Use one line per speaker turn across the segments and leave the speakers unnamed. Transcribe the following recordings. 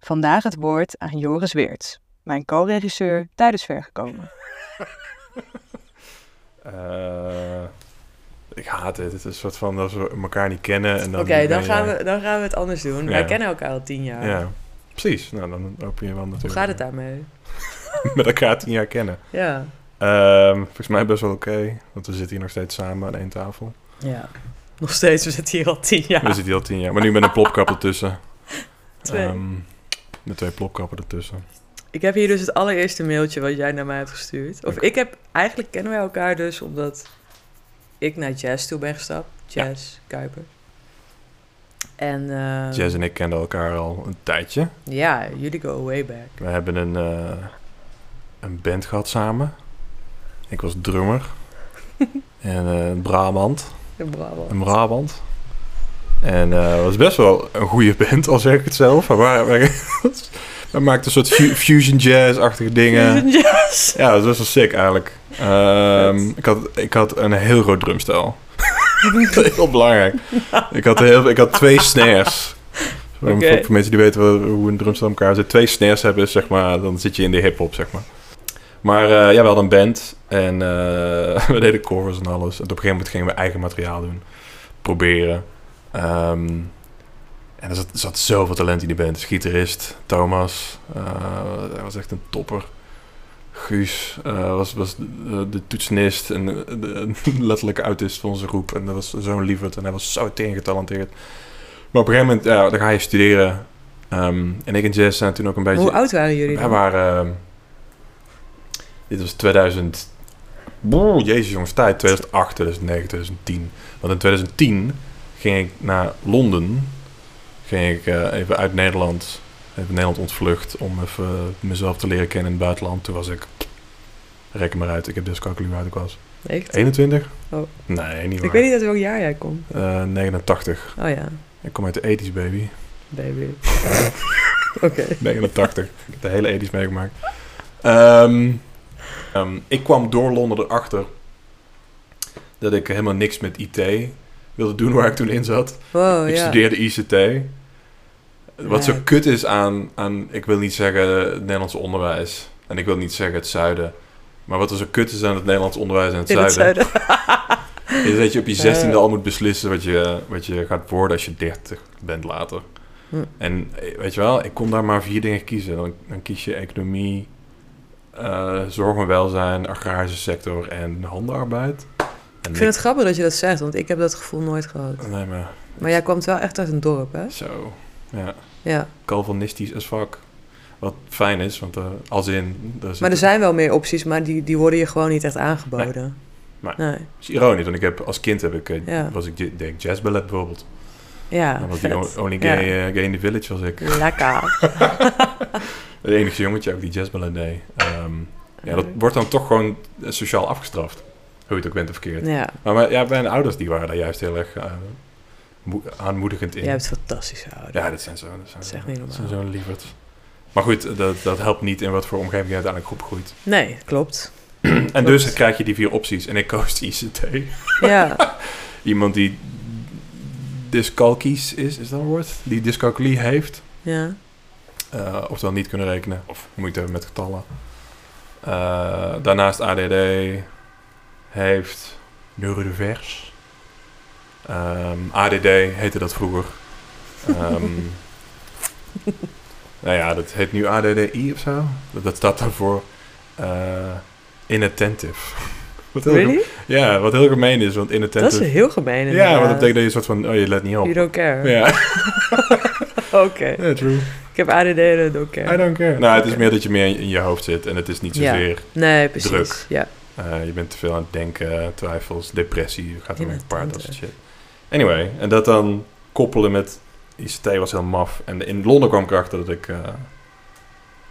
Vandaag het woord aan Joris Weerts, mijn co-regisseur tijdens Vergekomen.
Eh, ik haat dit. Het is een soort van dat we elkaar niet kennen. en dan
Oké, dan,
ben
gaan
jij-
we, dan gaan we het anders doen.
Ja.
Wij kennen elkaar al tien jaar.
Ja, precies. Nou, dan open je wel natuurlijk.
Hoe gaat het daarmee?
Met elkaar tien jaar kennen.
Ja.
Ehm, volgens mij best wel oké, want we zitten hier nog steeds samen aan één tafel.
ja. Nog steeds, we zitten hier al tien
We
jaar.
zitten hier al tien jaar, maar nu met een plopkap ertussen.
Twee.
Ehm, met twee plopkappen ertussen.
Ik heb hier dus het allereerste mailtje wat jij naar mij hebt gestuurd. Of
Oké.
ik heb... Eigenlijk kennen wij elkaar dus omdat ik naar Jazz toe ben gestapt. Jazz, Kuiper. En... eh,
Jazz en ik kenden elkaar al een tijdje.
Ja, jullie go way back.
We hebben een, eh, een band gehad samen. Ik was drummer. en eh, een Brabant.
In Brabant.
Een Brabant. En eh, het was best wel een goede band, al zeg ik het zelf. Maar wij, wij, wij maakten een soort fu- fusion jazz-achtige dingen.
Jazz.
Ja, dat was wel sick eigenlijk. Ehm,
Vet.
ik, had, ik had een heel groot drumstel. dat is heel belangrijk. Ik had, heel, ik had twee snares. Voor-
Oké.
Voor, voor mensen die weten wel hoe een drumstel in elkaar zit. Twee snares hebben, is, zeg maar, dan zit je in de hip-hop, zeg maar. Maar eh, ja, we hadden een band en eh, we deden covers en alles. En op een gegeven moment gingen we eigen materiaal doen. Proberen. Ehm, en er zat, er zat zoveel talent in die band. Dus gitarist, Thomas. eh, hij was echt een topper. Guus eh, was, was de, de toetsenist en de, de letterlijke autist van onze groep. En dat was zo'n lieverd en hij was zo tegen getalenteerd. Maar op een gegeven moment, ja, dan ga je studeren. Ehm, en ik en Jess zijn toen ook een beetje...
Hoe oud waren jullie
Wij
dan?
waren... ehm, dit was 2000... Boe, jezus jongens, tijd. 2008, 2009, 2010. Want in 2010 ging ik naar Londen. Ging ik eh, even uit Nederland. Even Nederland ontvlucht om even eh, mezelf te leren kennen in het buitenland. Toen was ik... Reken maar uit, ik heb dyscalculie uit ik was.
19.
21?
Oh.
Nee, niet waar.
Ik weet niet uit welk jaar jij komt.
Eh, 89.
Oh ja,
Ik kom uit de 80s, baby.
baby. Oké.
89. Ik heb de hele edies meegemaakt. Ehm, ehm, ik kwam door Londen erachter dat ik helemaal niks met IT wilde doen waar ik toen in zat.
Wow,
ik
Oh, ja.
studeerde ICT. Wat zo
Nee.
kut is aan, aan, ik wil niet zeggen het Nederlands onderwijs. En ik wil niet zeggen het zuiden. Maar wat er zo kut is aan het Nederlands onderwijs en het,
In het
zuiden,
zuiden.
is dat je op je zestiende
Eh.
al moet beslissen wat je, wat je gaat worden als je 30 bent later.
Hm.
En eh, weet je wel, ik kon daar maar vier dingen kiezen. Dan, dan kies je economie, eh, zorg en welzijn, agrarische sector en handenarbeid. En
Ik vind het grappig dat je dat zegt, want ik heb dat gevoel nooit gehad.
Nee, maar
Maar jij kwam wel echt uit een dorp, hè?
zo. Ja,
Ja.
Calvinistisch as fuck. Wat fijn is, want eh, als in... daar
Maar er
zitten-
zijn wel meer opties, maar die, die worden je gewoon niet echt aangeboden.
Nee.
Nee.
is ironisch, want ik heb, als kind heb ik, eh,
Ja.
was ik, deed ik jazzballet bijvoorbeeld.
Ja,
dan was
vet.
die only
Ja.
gay, eh, gay in the village was ik.
Lekker.
Het enige jongetje ook die jazzballet deed. Ehm, ja, dat wordt dan toch gewoon eh, sociaal afgestraft. Hoe je het ook bent of verkeerd.
Ja,
Maar mijn, ja, mijn ouders die waren daar juist heel erg eh, moe- aanmoedigend in.
jij hebt fantastische ouders.
Ja, dat zijn zo. Dat zijn,
Dat is echt niet
dat
normaal.
zijn zo'n lieverds. Maar goed, dat, dat helpt niet in wat voor omgeving je uiteindelijk opgroeit.
Nee, klopt.
En dus krijg je die vier opties. En ik koos ICT.
Ja,
Iemand die dyscalkies is, is dat een woord? Die dyscalculie heeft.
ja.
eh oftewel niet kunnen rekenen of moeite hebben met getallen. Eh, daarnaast ADD heeft neurodivers. Ehm ADD heette dat vroeger. Ehm, nou ja, dat heet nu ADDI of zo. Dat, dat staat dan voor eh, inattentive. Wat heel gem-
Really?
ja, wat heel gemeen is, want
Dat is
inattentive...
heel gemeen
ja, want dat
inderdaad.
betekent dat je soort van, oh je let niet
You
op.
don't care.
Ja,
Oké.
Ja, true.
Ik heb ADD en I don't care.
I don't care. Nou, het is
Oké.
meer dat je meer in- in je hoofd zit en het is niet
Ja.
zozeer.
Nee, precies.
Druk.
Ja.
eh, je bent te veel aan het denken, twijfels, depressie, je gaat ermee
Inderdaad,
gepaard, dat soort
ja.
shit. Anyway, en dat dan koppelen met ICT was heel maf. En in Londen kwam ik erachter dat ik. eh,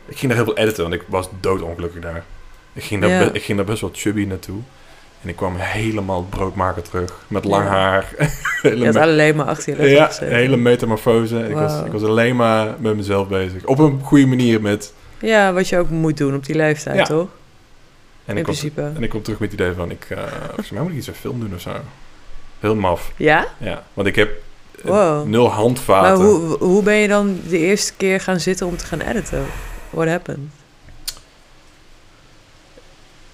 ik ging daar heel veel editen, want ik was doodongelukkig daar. Ik ging daar,
Ja.
be- ik ging daar best wel chubby naartoe. En ik kwam helemaal broodmaker terug. Met lang
Ja.
haar.
Je
hele
had
me-
alleen maar achter je laptop
ja,
gezeten.
hele metamorfose. Ik, was,
Wauw.
ik was alleen maar met mezelf bezig. Op een goede manier met.
Ja, wat je ook moet doen op die leeftijd,
Ja.
toch?
En
In
ik, kwam,
principe.
en ik kwam terug met het idee van: ik, eh volgens mij moet ik iets aan film doen of zo. Heel maf.
Ja?
Ja, want ik heb
Wow.
Nul handvaten.
Maar hoe, hoe ben je dan de eerste keer gaan zitten om te gaan editen? What happened?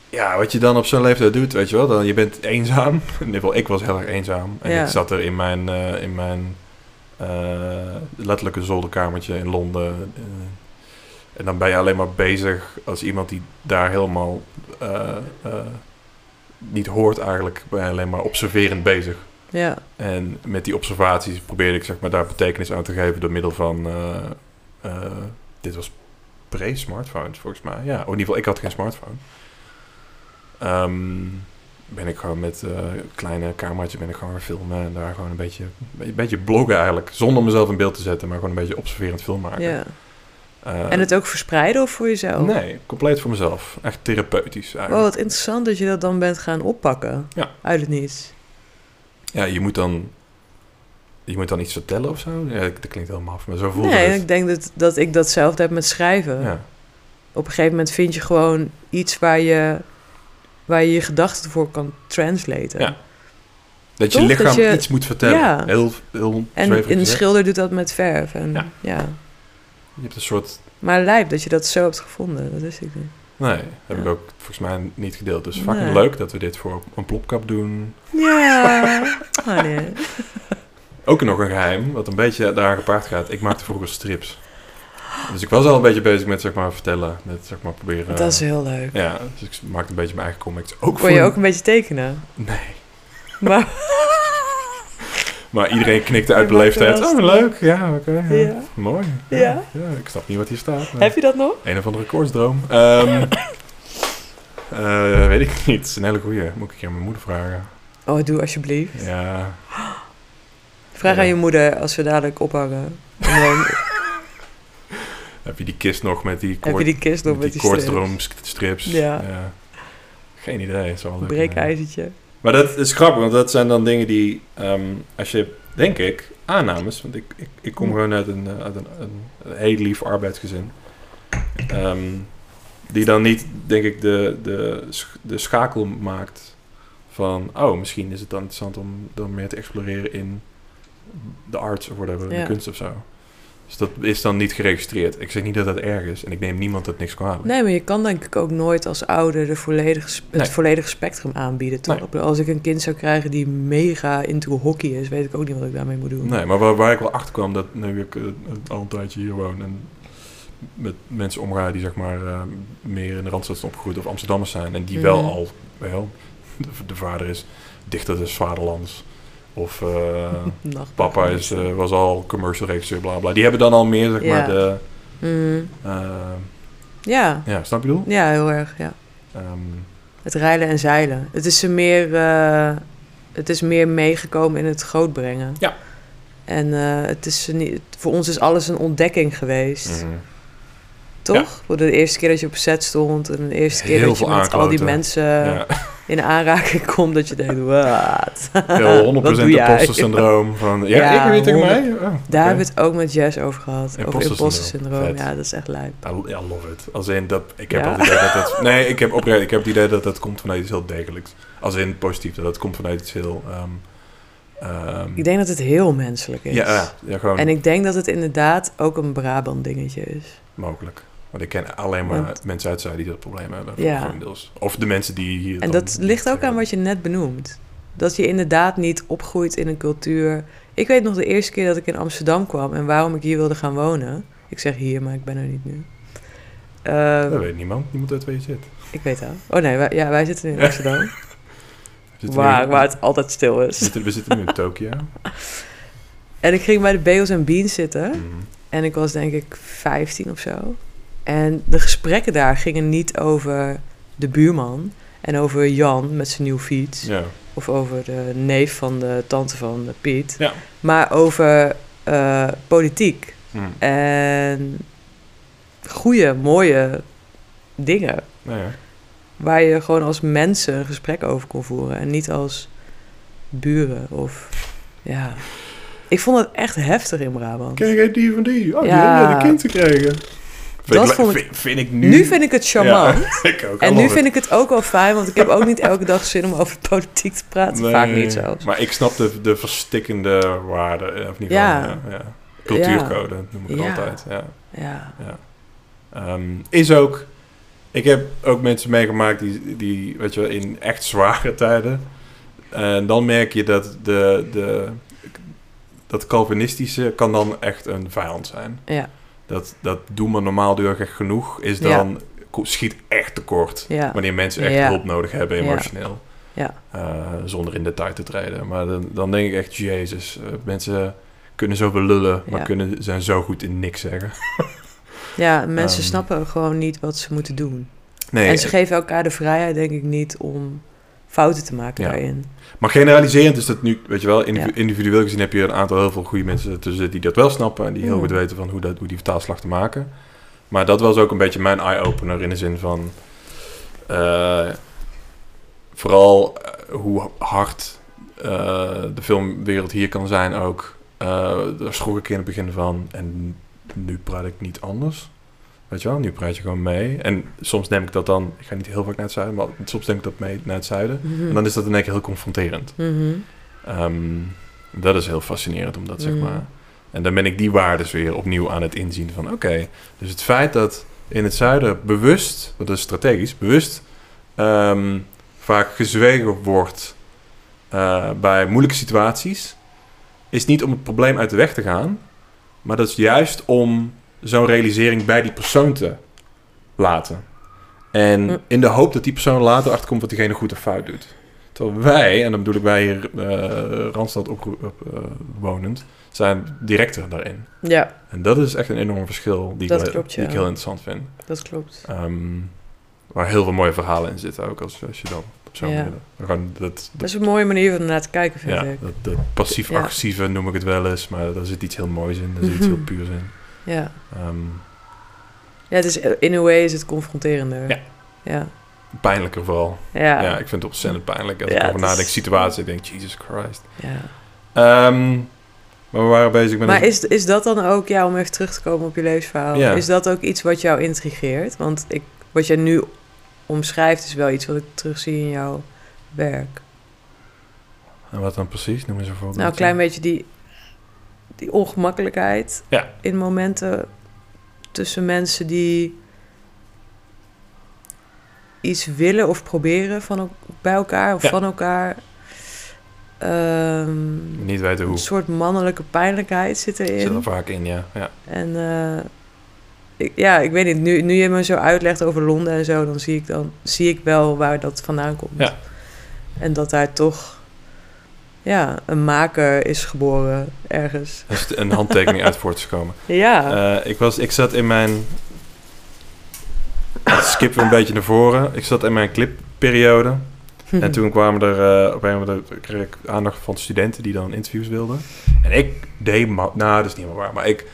Ja, wat je dan op zo'n leeftijd doet, weet je wel. Dan, je bent eenzaam. In ieder geval, ik was heel erg eenzaam. En
Ja.
ik zat er in mijn, eh, in mijn eh, letterlijke zolderkamertje in Londen. Eh, en dan ben je alleen maar bezig als iemand die daar helemaal eh, eh, niet hoort eigenlijk. Ben je alleen maar observerend bezig.
Ja,
En met die observaties probeerde ik zeg maar, daar betekenis aan te geven door middel van... eh, eh, dit was pre-smartphones volgens mij. Ja, oh, in ieder geval, ik had geen smartphone. Ehm, ben ik gewoon met eh, een kleine cameraatje ben ik gewoon gaan filmen. En daar gewoon een beetje, een beetje bloggen eigenlijk. Zonder mezelf in beeld te zetten, maar gewoon een beetje observerend film maken.
ja.
Eh,
En het ook verspreiden of voor jezelf?
Nee, compleet voor mezelf. Echt therapeutisch eigenlijk.
Wow, wat interessant dat je dat dan bent gaan oppakken.
Ja.
Uit het niets.
Ja, je moet dan... Je moet dan iets vertellen of zo? Ja, dat klinkt helemaal af, maar zo voelde
Nee,
het.
ik denk dat, dat ik datzelfde heb met schrijven.
Ja.
Op een gegeven moment vind je gewoon iets waar je waar je, je gedachten voor kan translaten.
Ja. Dat je
Toch?
lichaam
Dat je-
iets moet vertellen.
Ja.
Heel, heel
En
zweverig
een
gezegd.
schilder doet dat met verf. En,
Ja.
ja.
Je hebt een soort...
Maar lijp dat je dat zo hebt gevonden. Dat wist ik niet.
Nee, heb
Ja.
ik ook volgens mij niet gedeeld. Dus fucking
Nee.
leuk dat we dit voor een plopkap doen.
Ja. Oh, nee.
Eh. Ook nog een geheim, wat een beetje daar gepaard gaat. Ik maakte vroeger strips. Dus ik was al een beetje bezig met zeg maar vertellen. Met zeg maar proberen...
Dat is heel leuk.
Ja, dus ik maakte een beetje mijn eigen comics. Ook voor...
Kon je ook een beetje tekenen?
Nee.
Maar,
Maar iedereen knikte
Je
uit
maakte
beleefdheid.
wel
Oh,
strip.
leuk. Ja, oké. ja.
ja.
Mooi.
Ja.
Ik snap niet wat hier staat. maar-
Heb je dat nog?
Een of andere koortsdroom. Ehm eh, weet ik niet. Het is een hele goeie. Moet ik een keer aan mijn moeder vragen.
Oh, doe alsjeblieft.
Ja.
Vraag
Ja.
aan je moeder als we dadelijk ophangen. En dan
Heb je die kist nog met die,
heb
koord,
je die kist nog
met die,
strips.
koortsdroomstrips?
Ja.
Geen idee. Het zal wel lukken, nee.
breekijzertje.
Maar dat is grappig, want dat zijn dan dingen die... ehm, als je, denk ik, aannames... Want ik, ik, ik kom gewoon uit een, eh, uit een, een, een heel lief arbeidsgezin. Ehm, die dan niet, denk ik, de, de, sch- de schakel maakt van... Oh, misschien is het dan interessant om dan meer te exploreren in de arts of whatever, de
Ja.
kunst of zo. Dus dat is dan niet geregistreerd. Ik zeg niet dat dat erg is en ik neem niemand dat niks kwalijk.
Nee, maar je kan denk ik ook nooit als ouder de volledige, sp-
Nee.
het volledige spectrum aanbieden. Toch?
Nee.
Ik bedoel, Als ik een kind zou krijgen die mega into hockey is, weet ik ook niet wat ik daarmee moet doen.
Nee, maar waar, waar ik wel achter kwam, dat nu ik eh, al een tijdje hier woon en met mensen omga die zeg maar eh, meer in de Randstad zijn opgegroeid of Amsterdammers zijn en die wel
Mhm.
al, wel, de, de vader is dichter des vaderlands of eh,
Nacht-
papa is, eh, was al commercial regisseur, bla bla. Die hebben dan al meer zeg
Ja.
maar de,
Mm,
eh,
ja.
ja, snap je bedoel?
ja, heel erg. Ja.
Ehm,
Het rijden en zeilen. Het is ze meer, eh, het is meer meegekomen in het grootbrengen.
Ja.
En eh, het is ze niet, voor ons is alles een ontdekking geweest.
mhm.
Toch? Voor de eerste keer dat je op set stond en de eerste keer
Heel
dat je
veel
met al die
aankloten.
mensen
ja,
in aanraking komt, dat je denkt, wat?
heel 100%
Wat doe jij?
imposter-syndroom. Van, ja,
Ja,
ik heb je tegen
100.
mij? Oh,
Daar
oké.
hebben we het ook met Jess over gehad. Over
Imposter
imposter
syndroom.
syndroom.
Vet.
Ja, dat is echt lijp.
I, I love it. Als in dat ik heb
Ja.
altijd het idee dat dat. Nee, ik heb oprecht. Ik heb het idee dat dat komt vanuit iets heel degelijks. Als in positief. Dat dat komt vanuit iets heel. ehm, ehm,
Ik denk dat het heel menselijk is.
ja, ja, ja, gewoon
En ik denk dat het inderdaad ook een Brabant dingetje is.
mogelijk. Want ik ken alleen maar
Want-
mensen uit Zuid die dat probleem hebben.
Ja.
voor inmiddels. Of de mensen die hier.
En
dan eh,
dat ligt ook aan wat je net benoemt. Dat je inderdaad niet opgroeit in een cultuur. Ik weet nog de eerste keer dat ik in Amsterdam kwam en waarom ik hier wilde gaan wonen. Ik zeg hier, maar ik ben er niet nu. Eh,
Dat weet niemand. Niemand uit waar je zit.
ik weet dat. Oh nee, wij, ja, wij zitten nu in Amsterdam.
We zitten
waar,
nu-
waar het altijd stil
we
is.
zitten, we zitten nu in Tokio.
En ik ging bij de Beals en Beans zitten.
Mhm.
En ik was denk ik 15 of zo. En de gesprekken daar gingen niet over de buurman. En over Jan met zijn nieuwe fiets.
Ja.
Of over de neef van de tante van eh, Piet.
Ja.
Maar over eh, politiek.
Mhm.
En goede, mooie dingen.
Nou ja.
Waar je gewoon als mensen een gesprek over kon voeren. En niet als buren. Of ja. Ik vond het echt heftig in Brabant.
Ken jij die van die? Oh, die
Ja.
hebben net een kind gekregen.
dat
ik, le-
vond ik-
vind, vind ik nu...
Nu vind ik het charmant.
Ja, ik ook.
En nu vind ik het ook wel fijn, want ik heb ook niet elke dag zin om over politiek te praten. Vaak niet zelfs.
Maar ik snap de, de verstikkende waarde. eh, Of niet
Ja.
waarde, ja, ja. Cultuurcode noem ik
Ja.
altijd. Ja.
Ja.
Ehm, is ook... Ik heb ook mensen meegemaakt die, die weet je wel, in echt zware tijden... En dan merk je dat de, de, dat Calvinistische kan dan echt een vijand zijn.
Ja.
Dat, dat doen we normaal doorweg genoeg, is
Ja.
dan ko- schiet echt tekort.
Ja.
Wanneer mensen echt
Ja.
hulp nodig hebben
Ja.
emotioneel.
Ja.
Eh, zonder in detail te treden. Maar dan, dan denk ik echt, jezus, eh, mensen kunnen zoveel lullen, maar
Ja.
kunnen, zijn zo goed in niks zeggen.
ja, mensen
Ehm.
snappen gewoon niet wat ze moeten doen.
Nee, eh,
en ze geven elkaar de vrijheid, denk ik, niet om fouten te maken
Ja.
daarin.
Maar generaliserend is dat nu, weet je wel, indiv-
Ja.
individueel gezien heb je een aantal heel veel goede mensen tussen die dat wel snappen en die heel
Mm.
goed weten van hoe, dat, hoe die vertaalslag te maken. Maar dat was ook een beetje mijn eye-opener in de zin van eh, vooral eh, hoe hard eh, de filmwereld hier kan zijn ook. Eh, daar schrok ik in het begin van en nu praat ik niet anders. Weet je wel, nu praat je gewoon mee. En soms neem ik dat dan, ik ga niet heel vaak naar het zuiden, maar soms neem ik dat mee naar het zuiden.
Mhm.
En dan is dat in één keer heel confronterend.
Mhm.
Ehm, dat is heel fascinerend om dat, zeg
Mm.
maar. En dan ben ik die waardes weer opnieuw aan het inzien van... oké, dus het feit dat in het zuiden bewust, want dat is strategisch... bewust ehm, vaak gezwegen wordt eh, bij moeilijke situaties... is niet om het probleem uit de weg te gaan... maar dat is juist om zo'n realisering bij die persoon te laten.
Mm.
En in de hoop dat die persoon later achterkomt... wat diegene goed of fout doet. Terwijl wij, en dan bedoel ik wij hier eh, Randstad op, op, eh, wonend, zijn directer daarin.
Ja,
En dat is echt een enorm verschil die,
Dat
ik, wel-
klopt,
die
ja.
ik heel interessant vind.
dat klopt.
Ehm, waar heel veel mooie verhalen in zitten ook, als, als je dan op zo'n
Ja.
manier... Gewoon dat,
Dat
dat,
is een mooie manier om naar te kijken, vind
ja,
ik.
dat, dat passief-agressieve noem ik het wel eens, maar daar zit iets heel moois in, daar zit iets heel
Mhm.
puurs in.
Ja.
Ehm,
ja, het is, eh, in a way is het confronterender.
Ja.
Ja.
pijnlijker vooral.
Ja.
Ja. ik vind het ontzettend pijnlijk. Als
Ja,
ik
het
over
is-
nadenk, situatie, ik denk, Jesus Christ.
ja.
Ehm, maar we waren bezig met...
Maar
een-
is, is dat dan ook, ja, om even terug te komen op je levensverhaal,
dus- Ja.
is dat ook iets wat jou intrigeert? Want ik, wat jij nu omschrijft is wel iets wat ik terugzie in jouw werk.
En wat dan precies? Noem eens een voorbeeld.
Nou, een klein beetje die, die ongemakkelijkheid
Ja.
in momenten tussen mensen die iets willen of proberen van, el- bij elkaar of
Ja.
van elkaar. Ehm,
Niet weten hoe.
een soort mannelijke pijnlijkheid zit erin.
Zit er vaak in, ja. ja.
En eh, ik, ja, ik weet niet. Nu, nu je me zo uitlegt over Londen en zo, dan zie ik, dan, zie ik wel waar dat vandaan komt.
Ja.
En dat daar toch ja, een maker is geboren ergens.
Er is een handtekening uit voortgekomen.
Ja,
Eh, ik, was, ik zat in mijn... Skip een beetje naar voren. Ik zat in mijn clipperiode.
Hm.
En toen kwamen er eh, op een of andere kreeg ik aandacht van studenten die dan interviews wilden. En ik deed, ma- nou dat is niet helemaal waar, maar ik,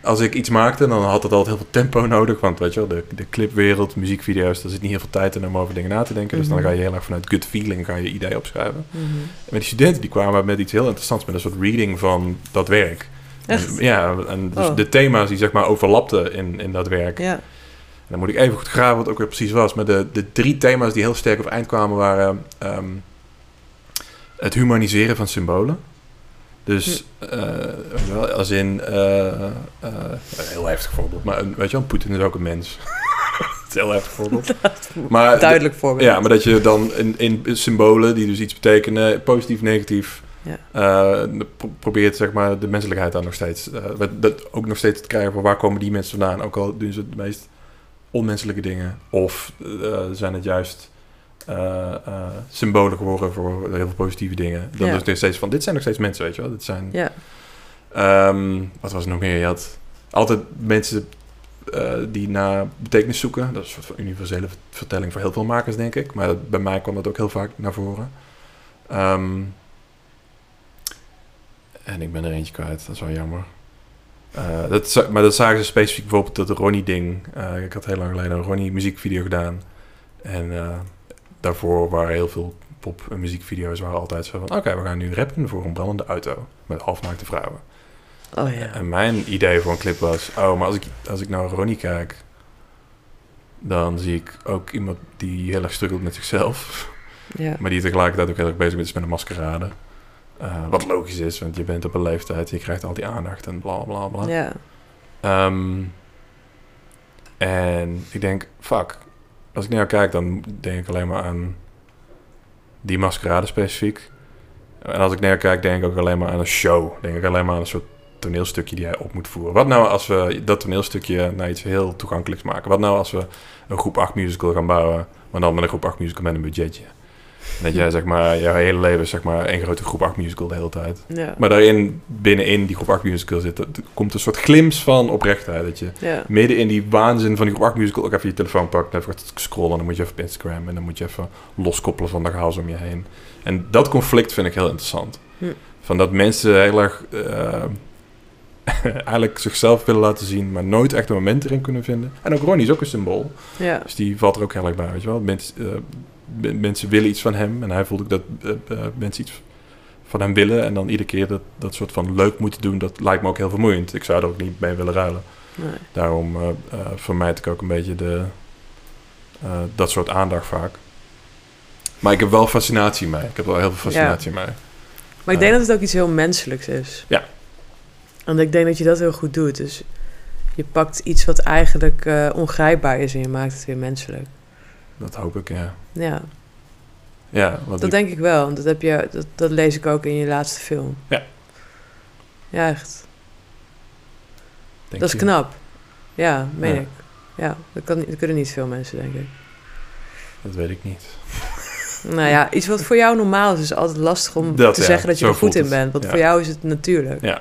als ik iets maakte, dan had het altijd heel veel tempo nodig. Want weet je wel, de, de clipwereld, muziekvideo's, daar zit niet heel veel tijd in om over dingen na te denken. Dus
Mhm.
dan ga je heel erg vanuit gut feeling ga je ideeën opschrijven.
Mhm.
En met die studenten die kwamen met iets heel interessants, met een soort reading van dat werk.
Echt?
En, ja, en dus
Oh.
de thema's die zeg maar overlapten in, in dat werk.
Ja.
En dan moet ik even goed graven wat het ook weer precies was. Maar de, de drie thema's die heel sterk op eind kwamen waren... ehm, het humaniseren van symbolen. Dus
Hm.
eh, weet je wel, als in... eh, eh, een heel heftig voorbeeld. Maar een- weet je wel, Poetin is ook een mens. Het is een heel heftig voorbeeld. Maar de-
Duidelijk voorbeeld.
ja, maar dat je dan in, in symbolen die dus iets betekenen, positief, negatief,
Ja.
eh, pro- probeert zeg maar de menselijkheid dan nog steeds, eh, wat- dat ook nog steeds te krijgen van waar komen die mensen vandaan, ook al doen ze de meest onmenselijke dingen. Of eh, zijn het juist eh, eh, symbolen geworden voor heel veel positieve dingen. Dan
Ja.
dus nog steeds van, dit zijn nog steeds mensen, weet je wel. Dit zijn,
Ja.
Ehm, wat was er nog meer? Je had altijd mensen eh, die naar betekenis zoeken. Dat is een soort van universele vertelling voor heel veel makers, denk ik. Maar dat- bij mij kwam dat ook heel vaak naar voren. Ehm, en ik ben er eentje kwijt, dat is wel jammer. Eh, dat, za- maar dat zagen ze specifiek bijvoorbeeld dat Ronnie-ding. Eh, ik had heel lang geleden een Ronnie-muziekvideo gedaan. En eh, daarvoor waren heel veel pop- en muziekvideo's waren altijd zo van... Oké, we gaan nu rappen voor een brandende auto met halfnaakte vrouwen.
Oh ja.
En mijn idee voor een clip was... Oh, maar als ik, als ik naar Ronnie kijk... Dan zie ik ook iemand die heel erg struggelt met zichzelf.
Ja.
Maar die tegelijkertijd ook heel erg bezig is met een maskerade. Eh, wat logisch is, want je bent op een leeftijd, je krijgt al die aandacht en bla bla bla.
ja.
Ehm, en ik denk, fuck. Als ik naar jou kijk, dan denk ik alleen maar aan die maskerade specifiek. En als ik naar jou kijk, denk ik ook alleen maar aan een show. Denk ik alleen maar aan een soort toneelstukje die jij op moet voeren. Wat nou als we dat toneelstukje naar iets heel toegankelijks maken? Wat nou als we een groep 8 musical gaan bouwen, maar dan met een groep 8 musical met een budgetje? En dat jij zeg maar, jouw hele leven is zeg maar één grote groep 8 musical de hele tijd.
Ja.
Maar daarin, binnenin die groep 8 musical zit, dat- er komt een soort glimps van oprechtheid. Dat je
Ja.
midden in die waanzin van die groep 8 musical ook even je telefoon pakt. En even gaat scrollen, dan moet je even op Instagram. En dan moet je even loskoppelen van de chaos om je heen. En dat conflict vind ik heel interessant.
Hm.
Van dat mensen heel erg eh, eigenlijk zichzelf willen laten zien, maar nooit echt een moment erin kunnen vinden. En ook Ronnie is ook een symbool.
Ja.
Dus die valt er ook heel erg bij, weet je wel. Mens- eh, m- mensen willen iets van hem en hij voelt ook dat eh, eh, mensen iets van hem willen. En dan iedere keer dat, dat soort van leuk moeten doen, dat lijkt me ook heel vermoeiend. Ik zou er ook niet mee willen ruilen.
Nee.
Daarom eh eh, vermijd ik ook een beetje de, eh, dat soort aandacht vaak. Maar ik heb wel fascinatie mee. Ik heb wel heel veel fascinatie mee.
Maar ik denk dat het ook iets heel menselijks is.
Eh. Ja.
Want ik denk dat je dat heel goed doet. Dus je pakt iets wat eigenlijk eh, ongrijpbaar is en je maakt het weer menselijk.
Dat hoop ik, ja.
Ja,
Ja, want
dat
ik-
denk ik wel. want Dat, heb je, dat, dat lees ik ook in je laatste film.
Ja.
Ja, echt.
denk
dat is
je-
knap. Ja, meen
Ja.
ik. Ja, dat, kan, dat kunnen niet veel mensen, denk ik.
Dat weet ik niet.
Nou ja, iets wat voor jou normaal is, is altijd lastig om
Dat,
te
ja,
zeggen dat je
zo
er goed
voelt
in
het.
bent. Want
Ja.
voor jou is het natuurlijk.
Ja.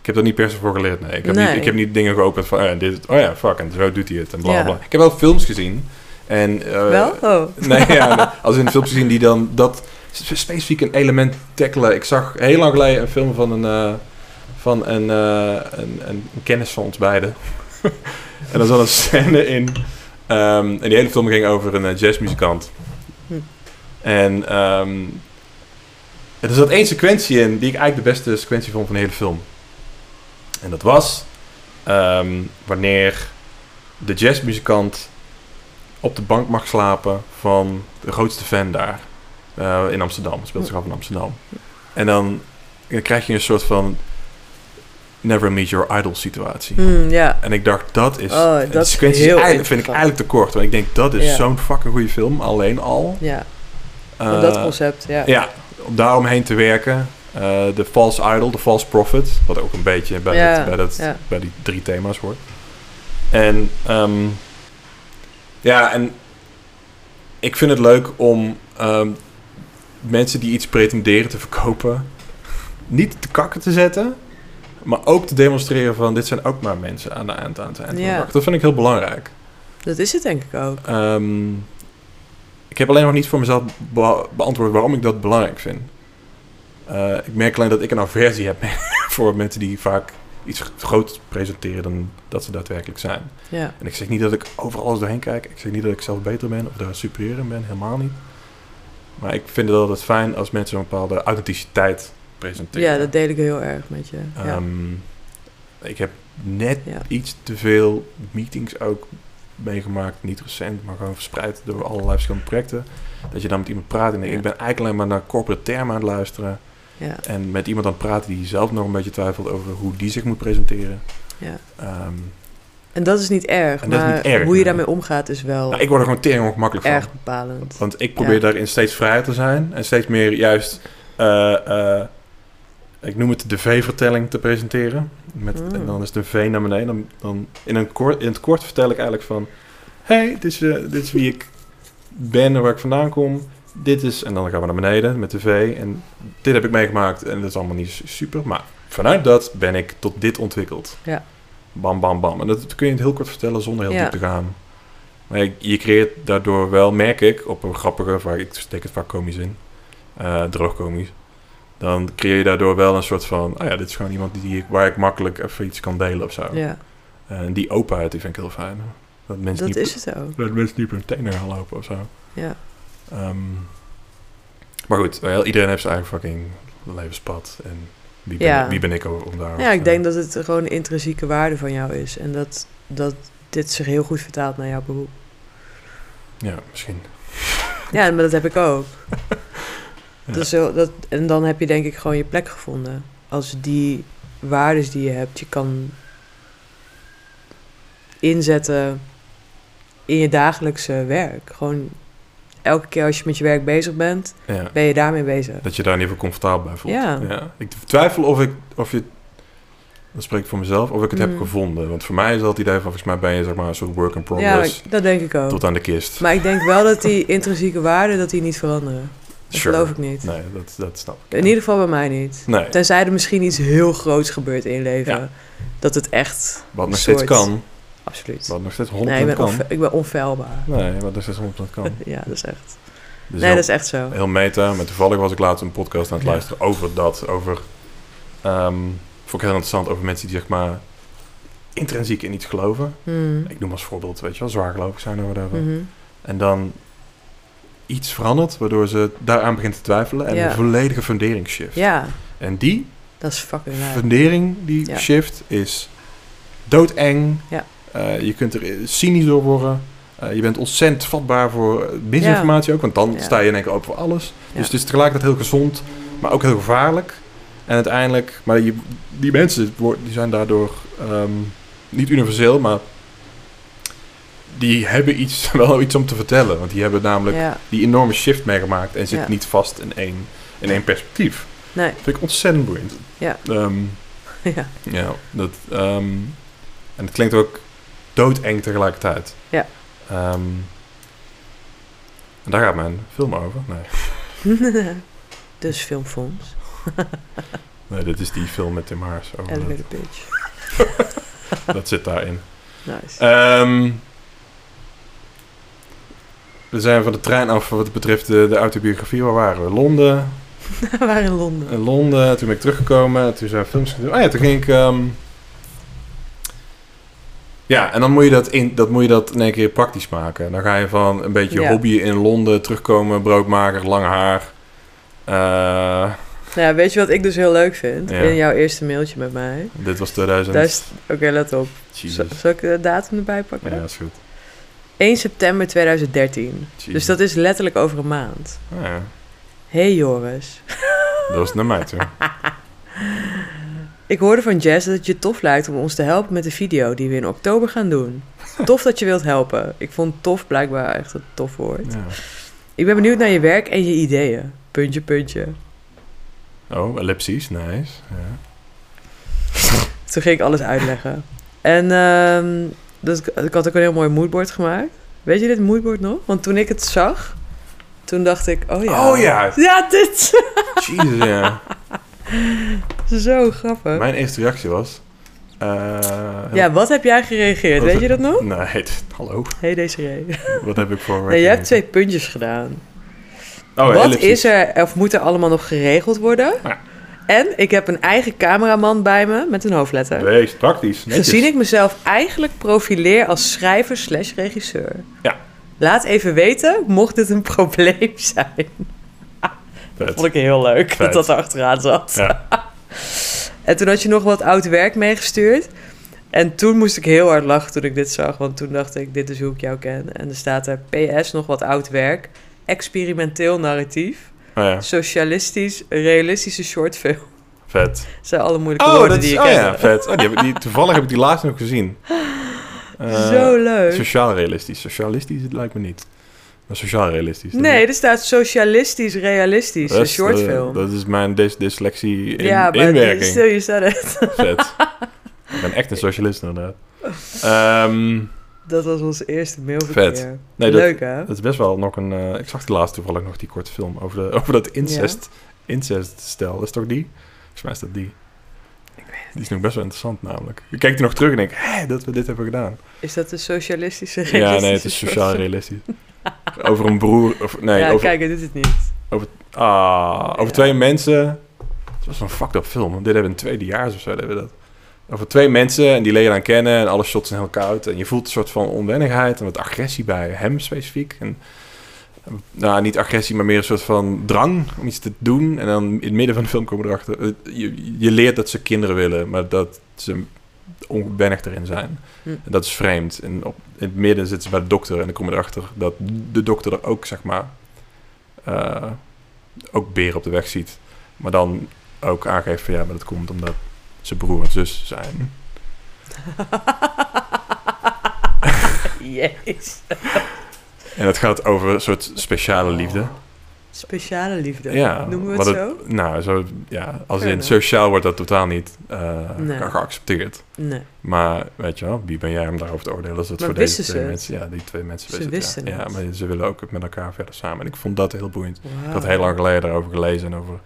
Ik heb er niet per se voor geleerd, nee. Ik heb,
Nee.
Niet, ik heb niet dingen geopend van, eh, dit, oh ja, fuck, en zo doet hij het, en bla
Ja.
bla. Ik heb wel films gezien. En, eh,
wel? Oh.
Nee, ja, nee. als in films gezien die dan dat spe- specifiek een element tackelen. Ik zag heel lang geleden een film van een, eh, van een, eh, een, een, een kennis van ons beiden. en daar zat een scène in. ehm, en die hele film ging over een eh, jazzmuzikant.
Hm.
En ehm, er zat één sequentie in die ik eigenlijk de beste sequentie vond van de hele film. En dat was ehm, wanneer de jazzmuzikant op de bank mag slapen van de grootste fan daar eh, in Amsterdam. Het Speelt zich af in Amsterdam. En dan, dan krijg je een soort van never meet your idol situatie.
Hmm, ja.
En ik dacht, dat is...
Oh,
en die
dat is
sequentie
heel
eigenlijk- vind ik
interessant.
eigenlijk te kort. Want ik denk, dat is
Ja.
zo'n fucking goede film, alleen al.
Ja,
Eh,
om dat concept, ja.
ja, om daaromheen te werken. Eh, De false idol, de false prophet. Wat ook een beetje bij,
Ja,
dit- bij, dat,
ja.
bij die drie thema's hoort. En ehm, ja, en ik vind het leuk om ehm, mensen die iets pretenderen te verkopen... niet te kakken te zetten... maar ook te demonstreren van... dit zijn ook maar mensen aan de eind aan het eind van de
Ja.
dag. Dat vind ik heel belangrijk.
Dat is het denk ik ook.
Ehm, ik heb alleen nog niet voor mezelf be- beantwoord waarom ik dat belangrijk vind. Eh, ik merk alleen dat ik een aversie heb voor mensen die vaak iets groots presenteren dan dat ze daadwerkelijk zijn.
Ja,
En ik zeg niet dat ik over alles doorheen kijk. Ik zeg niet dat ik zelf beter ben of daar superieur in ben. Helemaal niet. Maar ik vind het altijd fijn als mensen een bepaalde authenticiteit presenteren.
ja dat deel ik heel erg met je. ja.
Ehm, Ik heb net
Ja.
iets te veel meetings ook meegemaakt. Niet recent, maar gewoon verspreid door allerlei verschillende projecten. Dat je dan met iemand praat en denkt,
Ja.
ik ben eigenlijk alleen maar naar corporate termen aan het luisteren.
Ja,
En met iemand aan het praten die zelf nog een beetje twijfelt over hoe die zich moet presenteren.
ja.
Ehm,
En dat is niet erg,
En dat is
maar
niet erg,
hoe je
nee.
daarmee omgaat is wel
nou, ik word er gewoon tering ongemakkelijk van.
erg bepalend.
Want ik probeer
Ja.
daarin steeds vrijer te zijn. En steeds meer juist, eh, eh, ik noem het de V-vertelling te presenteren. Met,
Mm.
En dan is de V naar beneden. Dan, dan in, een kort, in het kort vertel ik eigenlijk van... hey, dit, is, eh, dit is wie ik ben en waar ik vandaan kom. Dit is... En dan gaan we naar beneden met de V. En dit heb ik meegemaakt. En dat is allemaal niet su- super. Maar vanuit dat ben ik tot dit ontwikkeld.
Ja.
Bam, bam, bam. En dat kun je in het heel kort vertellen zonder heel
Ja.
diep te gaan. Maar je, je creëert daardoor wel, merk ik, op een grappige... Vaak, ik steek het vaak komisch in. eh droogkomisch. Dan creëer je daardoor wel een soort van... Ah ja, dit is gewoon iemand die, ik- waar ik makkelijk even iets kan delen of zo.
Ja,
En die openheid, die vind ik heel fijn. Dat mensen
dat
niet,
is het ook.
dat mensen niet op hun tenen gaan lopen of zo.
Ja,
Ehm, maar goed, wel, iedereen heeft zijn eigen fucking levenspad. En wie ben,
Ja.
wie ben ik om daar...
ja ik denk dat het gewoon een intrinsieke waarde van jou is. En dat, dat dit zich heel goed vertaalt naar jouw beroep.
Ja, misschien.
Ja, maar dat heb ik ook. dat is zo, dat, en dan heb je denk ik gewoon je plek gevonden. Als die waardes die je hebt, je kan inzetten in je dagelijkse werk. Gewoon elke keer als je met je werk bezig bent,
Ja.
ben je daarmee bezig.
Dat je daar in ieder geval comfortabel bij voelt.
Ja.
Ik twijfel of ik, of je, dat spreek ik voor mezelf, of ik het
Mm.
heb gevonden. Want voor mij is dat het idee van, volgens mij ben je zeg maar een soort work in
Ja,
progress
ik- dat denk ik ook.
dus tot aan de kist.
Maar ik denk wel dat die intrinsieke waarden dat die niet veranderen. Dat
Sure.
geloof ik niet.
Nee, dat, dat snap ik.
In ieder geval bij mij niet.
Nee,
Tenzij er misschien iets heel groots gebeurt in je leven.
Ja.
Dat het echt,
wat nog
soort.
steeds kan.
absoluut.
Wat nog steeds 100%
Nee, ik ben,
kan.
onfe- ik ben onfeilbaar.
Nee, wat nog steeds 100% kan.
Ja, dat is echt.
Dus
nee,
heel-
dat is echt zo.
Heel meta. Maar toevallig was ik laatst een podcast aan het
Ja.
luisteren over dat. Over, ehm, vond ik heel interessant, over mensen die zeg maar intrinsiek in iets geloven.
Hmm.
Ik noem als voorbeeld, weet je wel, zwaargelovig zijn of whatever.
Mhm.
En dan iets verandert, waardoor ze daaraan begint te twijfelen. En
Ja.
een volledige fundering shift.
Ja,
En die
dat is fucking raar.
fundering, die
eh, Ja.
shift, is doodeng.
Ja.
Eh, je kunt er cynisch door worden. Eh, je bent ontzettend vatbaar voor eh, misinformatie ook, want dan
Ja.
sta je in één keer open voor alles.
Ja.
Dus het is tegelijkertijd heel gezond, maar ook heel gevaarlijk. En uiteindelijk, maar je, die mensen wo- die zijn daardoor ehm, niet universeel, maar die hebben iets, wel iets om te vertellen. Want die hebben namelijk
Ja,
die enorme shift meegemaakt en zitten
Ja.
niet vast in één, in één perspectief.
nee.
Dat vind ik ontzettend boeiend.
Ja.
Ehm,
ja.
ja, dat, ehm, en het klinkt ook doodeng tegelijkertijd.
Ja.
Ehm, en daar gaat mijn film over. Nee,
dus filmfonds.
Oh, nee dit is die film met Tim Haars. Over
En
dat,
de pitch.
dat zit daarin.
Nice.
Ehm, we zijn van de trein af wat betreft de, de autobiografie. Waar waren we? Londen.
We waren in Londen.
in Londen. Toen ben ik teruggekomen. Toen zijn we films gedaan. Ah ja, toen ging ik... ehm, Ja, en dan moet je dat in, dat moet je dat in één keer praktisch maken. Dan ga je van een beetje
Ja.
hobby in Londen terugkomen, broodmaker, lang haar. Eh,
Nou, ja, weet je wat ik dus heel leuk vind?
Ja.
In jouw eerste mailtje met mij.
dit was 2000.
Daar is- Oké, let op. Zal,
Jesus.
zal ik de datum erbij pakken?
Ja, is goed.
1 september 2013. Dus
Jesus.
dat is letterlijk over een maand.
Ah ja,
hey, Joris.
dat was naar mij toe.
Ik hoorde van Jess dat het je tof lijkt om ons te helpen met de video die we in oktober gaan doen. Tof dat je wilt helpen. Ik vond tof blijkbaar echt een tof woord.
Ja.
Ik ben benieuwd naar je werk en je ideeën. Puntje, puntje.
Oh, ellipsies, nice. Ja.
Toen ging ik alles uitleggen. En ehm, dus ik, ik had ook een heel mooi moodboard gemaakt. Weet je dit moodboard nog? Want toen ik het zag, toen dacht ik, oh ja.
Oh ja,
Ja, dit
Jesus, ja.
is zo grappig.
Mijn eerste reactie was... eh,
Ja, wat heb jij gereageerd? Weet je dat nog?
Nee, hallo.
Hey Desiree.
Wat heb ik voor...
Nee, jij hebt twee puntjes gedaan.
Oh,
Wat
ellipsies.
is er of moet er allemaal nog geregeld worden?
Ja.
En ik heb een eigen cameraman bij me met een hoofdletter.
Wees praktisch. netjes.
Gezien ik mezelf eigenlijk profileer als schrijver slash regisseur.
Ja.
Laat even weten, mocht dit een probleem zijn.
Vet.
Vond ik heel leuk
Vet.
dat dat er achteraan zat.
Ja.
En toen had je nog wat oud werk meegestuurd. En toen moest ik heel hard lachen toen ik dit zag. Want toen dacht ik, dit is hoe ik jou ken. En er staat er PS nog wat oud werk. Experimenteel narratief.
Oh ja,
Socialistisch, realistische shortfilm.
vet.
Dat zijn alle moeilijke
Oh,
woorden
dat
die
is,
je
oh
kent.
ja, vet. Oh, die heb ik- die, toevallig heb ik die laatst nog gezien. Eh,
Zo leuk.
Sociaal realistisch. Socialistisch het lijkt me niet. Maar sociaal realistisch. dat
nee,
is-
er staat socialistisch, realistisch.
dat
Een
is,
shortfilm.
eh, dat is mijn dys dyslexie in,
ja, maar
inwerking.
stil je staat het.
Vet. ik ben echt een socialist inderdaad. Ehm,
Dat was onze eerste mailverkeer.
Vet. nee, dat,
Leuk hè?
dat is best wel nog een... eh, ik zag die laatst toevallig nog die korte film over, de, over dat incest, inceststel. Dat is toch die? Volgens mij is dat die.
Ik weet het.
Die is nog best wel interessant namelijk. Ik kijk er nog terug en denk, hé, dat we dit hebben gedaan.
Is dat de socialistische
Ja, nee, het is sociaal
shortfilm?
realistisch. Over een broer, of nee,
ja,
over,
kijk, dit is het niet.
ah, over
Ja.
twee mensen. Het was een fucked up film. Dit hebben we in het tweede jaar of zo, hebben we dat. Over twee mensen en die leer je dan kennen en alle shots zijn heel koud. En je voelt een soort van onwennigheid en wat agressie bij hem specifiek. En, nou, niet agressie, maar meer een soort van drang om iets te doen. En dan in het midden van de film komen we erachter. eh, Je, je leert dat ze kinderen willen, maar dat ze onwennig erin zijn.
Hm.
En dat is vreemd. En op, in het midden zitten ze bij de dokter en dan kom je erachter dat de dokter er ook, zeg maar, eh, ook beren op de weg ziet. Maar dan ook aangeeft van ja, maar dat komt omdat ze broer en zus zijn.
Jezus.
En dat gaat over een soort speciale liefde.
Speciale liefde.
Ja,
Noemen we het
wat het-
zo?
Nou, zo, ja, als
Fair
in
enough.
sociaal wordt dat totaal niet eh,
Nee.
ge- geaccepteerd.
Nee.
Maar weet je wel, wie ben jij om daarover te oordelen? Als dat
Maar
voor deze
wisten
twee
ze het?
mensen, ja, die twee mensen
Ze
wisten, het,
wisten
ja.
het.
ja, maar ze willen ook met elkaar verder samen. En ik vond dat heel boeiend.
Wauw.
Ik had heel lang geleden daarover gelezen en over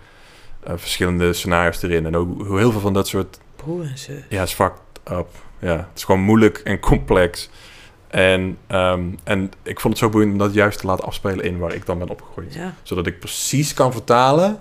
eh, verschillende scenario's erin. En ook hoe heel veel van dat soort,
Broer en zus.
ja, is fucked up. Ja, het is gewoon moeilijk en complex. En, ehm, en ik vond het zo boeiend om dat juist te laten afspelen in waar ik dan ben opgegroeid
Ja.
zodat ik precies kan vertalen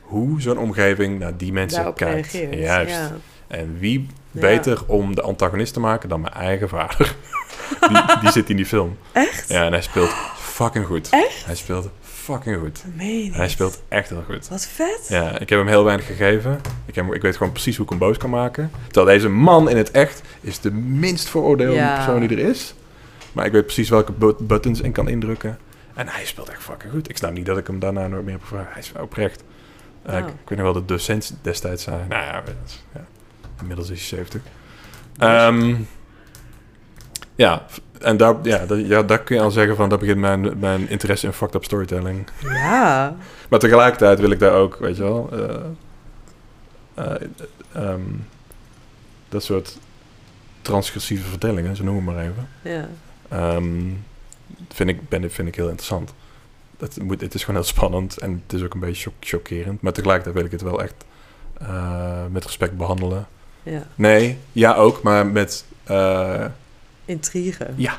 hoe zo'n omgeving naar die mensen
Daarop
kijkt.
reageert.
Juist.
Ja.
En wie
Ja.
beter om de antagonist te maken dan mijn eigen vader? die, die zit in die film.
Echt?
Ja, en hij speelt fucking goed. Echt? Hij speelt fucking goed.
Dat meen je niet.
Hij speelt echt heel goed.
Wat vet.
Ja, ik heb hem heel weinig gegeven. Ik, heb, hem- ik weet gewoon precies hoe ik hem boos kan maken. Terwijl deze man in het echt is de minst veroordeelde
Ja.
persoon die er is. Maar ik weet precies welke bu- buttons ik kan indrukken. En hij speelt echt fucking goed. Ik snap niet dat ik hem daarna nooit meer heb gevraagd. Hij is oprecht. Eh,
Nou.
ik, ik weet nog wel dat de docent destijds zei... Nou ja, dat is- ja, inmiddels is hij 70. Ehm, ja, en daar, ja, dat- ja, daar kun je al zeggen van... Dat begint mijn, mijn interesse in fucked up storytelling.
Ja.
Maar tegelijkertijd wil ik daar ook, weet je wel, eh, eh, ehm, dat soort transgressieve vertellingen, zo noemen we maar even,
Ja.
ehm, vind, ik, ben, vind ik heel interessant. Dat moet, het is gewoon heel spannend en het is ook een beetje choc- chockerend, maar tegelijkertijd wil ik het wel echt eh, met respect behandelen.
ja.
Nee, ja ook, maar met, eh,
Intrigue.
ja,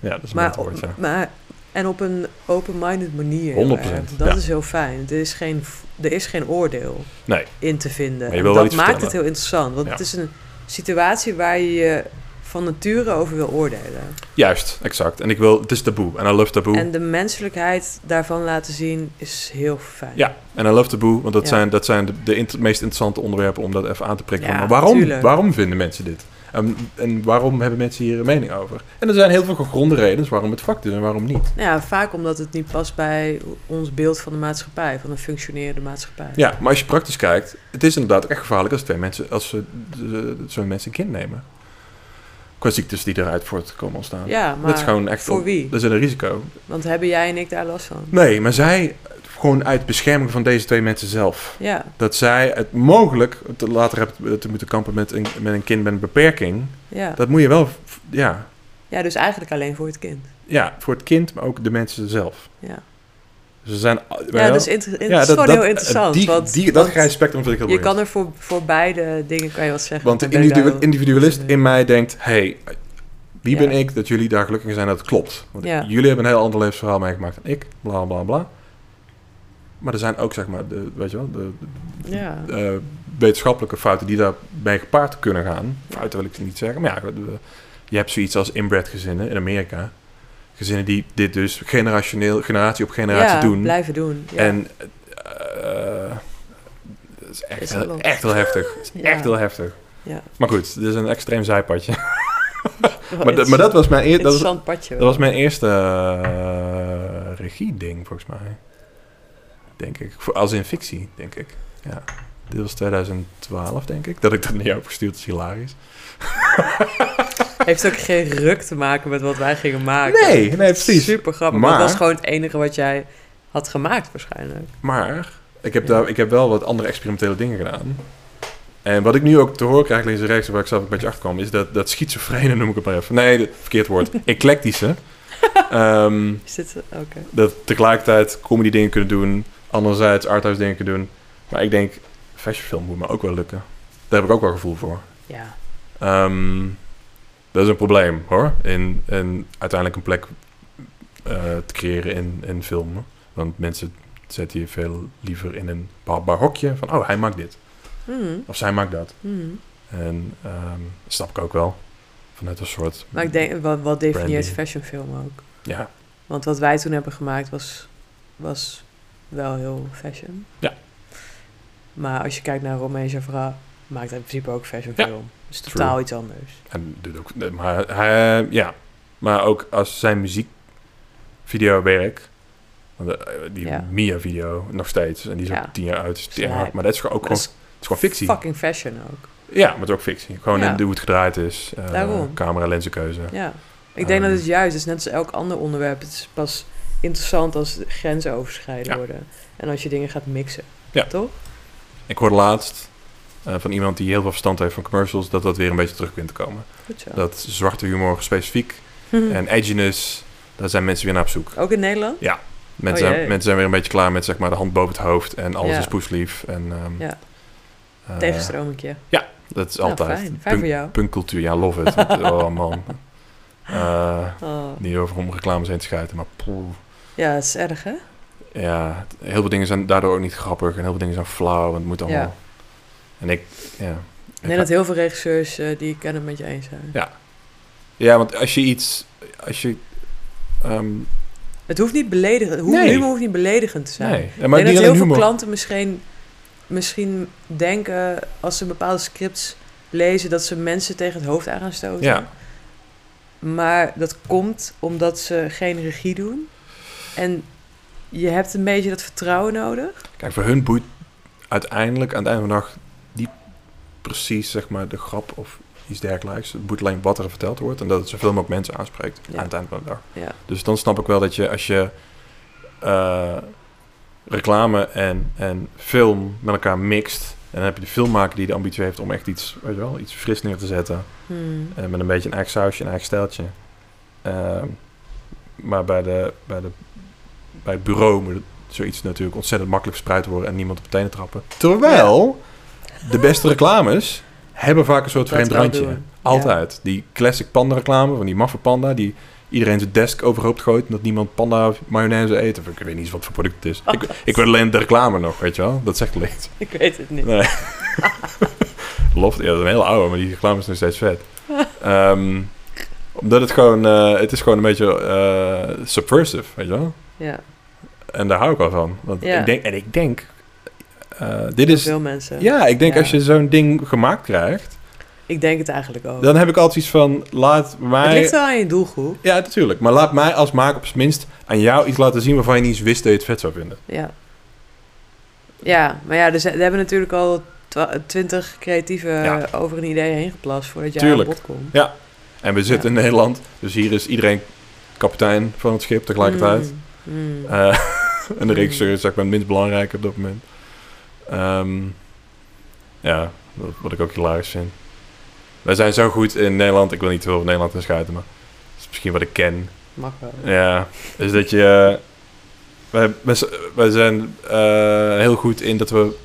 dat is een
maar,
beter woord, ja.
maar en op een open-minded manier. heel
100%,
erg. Dat
ja.
is heel fijn. Er is geen, er is geen oordeel
Nee.
in te vinden.
Maar je wil
En
wel
dat
iets
maakt het
vertellen.
heel interessant. Want
Ja.
het is een situatie waar je je van nature over wil oordelen.
Juist, exact. En ik wil, het is taboe en I love taboe.
En de menselijkheid daarvan laten zien is heel fijn.
Ja, en I love taboe, want dat
Ja.
zijn, dat zijn de, de inter- meest interessante onderwerpen om dat even aan te prikken.
Ja,
maar waarom,
tuurlijk.
waarom vinden mensen dit? En, en waarom hebben mensen hier een mening over? En er zijn heel veel gegronde redenen waarom het vak is en waarom niet.
Nou ja, vaak omdat het niet past bij ons beeld van de maatschappij, van een functionerende maatschappij.
Ja, maar als je praktisch kijkt, het is inderdaad echt gevaarlijk als twee mensen, als ze eh, zo'n mensen een kind nemen. Qua ziektes die eruit voortkomen ontstaan.
Ja,
dat is
maar
gewoon echt.
voor
op-
wie?
Dat is een risico.
Want hebben jij en ik daar last van?
Nee, maar zij, gewoon uit bescherming van deze twee mensen zelf.
Ja,
dat zij het mogelijk te later hebt te moeten kampen met een, met een kind met een beperking.
ja.
Dat moet je wel, f- ja,
ja, dus eigenlijk alleen voor het kind.
ja, voor het kind, maar ook de mensen zelf.
Ja,
Ze zijn,
ja dat is, inter- het is gewoon heel interessant.
Die,
want
die, dat
want
grijs spectrum vind ik heel
je
moeilijk.
kan er voor, voor beide dingen kan je wat zeggen.
Want de
Ik ben daar
individu-
wel-
individualist in mij denkt, hey, wie
Ja.
ben ik dat jullie daar gelukkig in zijn? Dat klopt. Want
Ja.
jullie hebben een heel ander levensverhaal meegemaakt dan ik, bla bla bla. Maar er zijn ook, zeg maar, de, weet je wel, de,
Ja,
eh, wetenschappelijke fouten die daarbij gepaard kunnen gaan. Fouten wil ik niet zeggen, maar ja, we- we- je hebt zoiets als inbred gezinnen in Amerika. Gezinnen die dit dus generationeel, generatie op generatie
ja
doen.
blijven doen. Ja.
En eh, eh, dat is echt,
Is
heel-
geloofd.
echt heel heftig. Dat is
Ja.
Echt heel heftig.
Ja. Oh,
Maar goed, dit is een extreem zijpadje.
Wel
maar, dat- maar dat was mijn, eer, dat was,
interessant padje.
dat was mijn eerste regie regieding, volgens mij. Denk ik. Voor, als in fictie, denk ik. Ja. Dit was 2012, denk ik. Dat ik dat naar jou heb gestuurd is hilarisch.
Heeft ook geen ruk te maken met wat wij gingen maken.
Nee, nee, precies.
Ah, Super grappig.
Maar-
Maar... Dat was gewoon het enige wat jij had gemaakt waarschijnlijk.
Maar ik heb,
Ja.
daar, ik heb wel wat andere experimentele dingen gedaan. En wat ik nu ook te horen krijg links en rechts, waar ik zelf ook een beetje achter kwam, is dat, dat schizofrene noem ik het maar even. Nee, dat- verkeerd woord. Eclectische. Ehm,
Is dit... Oké.
dat tegelijkertijd comedy dingen kunnen doen, anderzijds arthouse dingen kunnen doen. Maar ik denk, fashionfilm moet me ook wel lukken. Daar heb ik ook wel gevoel voor.
Ja.
Ehm, dat is een probleem hoor. In, in uiteindelijk een plek eh, te creëren in, in filmen. Want mensen zetten je veel liever in een behapbaar hokje van, oh hij maakt dit.
Mhm,
Of zij maakt dat.
mhm.
En ehm, dat snap ik ook wel. Vanuit een soort.
Maar ik denk, wat, wat definieert
Brandy.
fashionfilm ook?
Ja,
Want wat wij toen hebben gemaakt was, was wel heel fashion.
Ja.
Maar als je kijkt naar Romain Javra, maakt hij in principe ook fashion
Ja,
film. is
True.
totaal iets anders.
Hij doet ook... Maar hij... Ja. Maar ook als zijn muziekvideowerk... want, eh, Die
Ja.
Mia-video nog steeds. En die is
Ja.
ook tien jaar oud. Is tering
Slijp.
hard, maar dat is gewoon ook
Maar
gewoon,
dat
het
is
is gewoon fictie.
Fucking fashion ook.
Ja, maar het is ook fictie. Gewoon
Ja.
hoe het gedraaid is. eh,
Daarom.
Camera, lenzenkeuze.
Ja. Ik denk
Ehm.
dat het juist is, net als elk ander onderwerp. Het is pas interessant als de grenzen overschreden
Ja.
worden. En als je dingen gaat mixen.
Ja.
Toch?
Ik hoorde laatst eh, van iemand die heel veel verstand heeft van commercials... dat dat weer een beetje terug begint te komen.
Goed zo.
Dat zwarte humor specifiek
Hm.
en edginess... daar zijn mensen weer naar op zoek.
Ook in Nederland?
Mensen,
Oh, jee.
zijn, mensen zijn weer een beetje klaar met zeg maar, de hand boven het hoofd en alles
Ja.
is poeslief. En, ehm,
Ja.
eh,
Tegenstromingje.
Dat is
Nou,
altijd.
fijn. Fijn
Punk-
voor jou.
Punkcultuur, ja, love it. Want, oh man. Eh,
Oh.
niet over om reclames heen te schuiten, maar poeh.
Ja, dat is erg, hè?
Ja, heel veel dingen zijn daardoor ook niet grappig en heel veel dingen zijn flauw en het moet allemaal.
Ja.
En ik, ja.
Ik denk dat heel veel regisseurs eh, die ik ken het met je eens zijn.
Ja. Ja, want als je iets, als je, ehm,
Het hoeft niet beledigend. hoe-
Nee.
Humor hoeft niet beledigend te zijn.
nee. Ja,
Maar
maar niet
ik denk dat
alleen
heel
humor.
veel klanten misschien, misschien denken als ze bepaalde scripts lezen dat ze mensen tegen het hoofd aan gaan stoten.
Ja.
Maar dat komt omdat ze geen regie doen. En je hebt een beetje dat vertrouwen nodig.
Kijk, voor hun boeit uiteindelijk aan het einde van de dag niet precies zeg maar, de grap of iets dergelijks. Het boeit alleen wat er verteld wordt en dat het zoveel mogelijk mensen aanspreekt
Ja.
aan het einde van de dag.
Ja.
Dus dan snap ik wel dat je als je eh, reclame en, en film met elkaar mixt, en dan heb je de filmmaker die de ambitie heeft om echt iets, weet je wel, iets fris neer te zetten.
Hmm.
En Eh, met een beetje een eigen sausje, een eigen stijltje. Ehm, maar bij, de, bij, de, bij het bureau moet het zoiets natuurlijk ontzettend makkelijk verspreid worden en niemand op de tenen trappen. Terwijl de beste reclames hebben vaak een soort
Dat
vreemd
wel
randje.
doen.
Altijd. Die classic panda reclame van die maffe panda die iedereen zijn desk overhoop gooit omdat niemand panda mayonaise eet. Of ik weet niet eens wat voor product het is.
Oh.
ik, ik weet alleen de reclame nog, weet je wel. Dat zegt alleen. iets.
Ik weet het niet.
Nee. Loft, ja, dat is een hele oude, maar die reclame is nog steeds vet. Ehm, omdat het gewoon, eh, het is gewoon een beetje eh, subversive, weet je wel?
Ja,
En daar hou ik wel van. Want
Ja.
ik denk, en ik denk, eh, dit
voor
is,
veel mensen.
ja, ik denk
Ja.
als je zo'n ding gemaakt krijgt,
Ik denk het eigenlijk ook.
dan heb ik altijd iets van, laat
het
mij,
ligt wel aan je doelgroep.
ja natuurlijk, maar laat mij als maker op zijn minst aan jou iets laten zien waarvan je niet eens wist dat je het vet zou vinden.
Ja. Ja, maar ja, er, zijn- er hebben natuurlijk al twintig creatieven
Ja.
over een idee heen geplast voordat jij
Tuurlijk.
aan bod komt.
En we zitten in Nederland, dus hier is iedereen kapitein van het schip tegelijkertijd.
Mm, mm.
Eh, en de
Mm.
regisseur is zeg maar het minst belangrijk op dat moment. Ehm, ja, dat, wat ik ook hilarisch vind. Wij zijn zo goed in Nederland. Ik wil niet te veel van Nederland in schuiten, maar dat is misschien wat ik ken.
Mag wel.
Ja, is dat je... eh, wij, wij, z- wij zijn eh, heel goed in dat we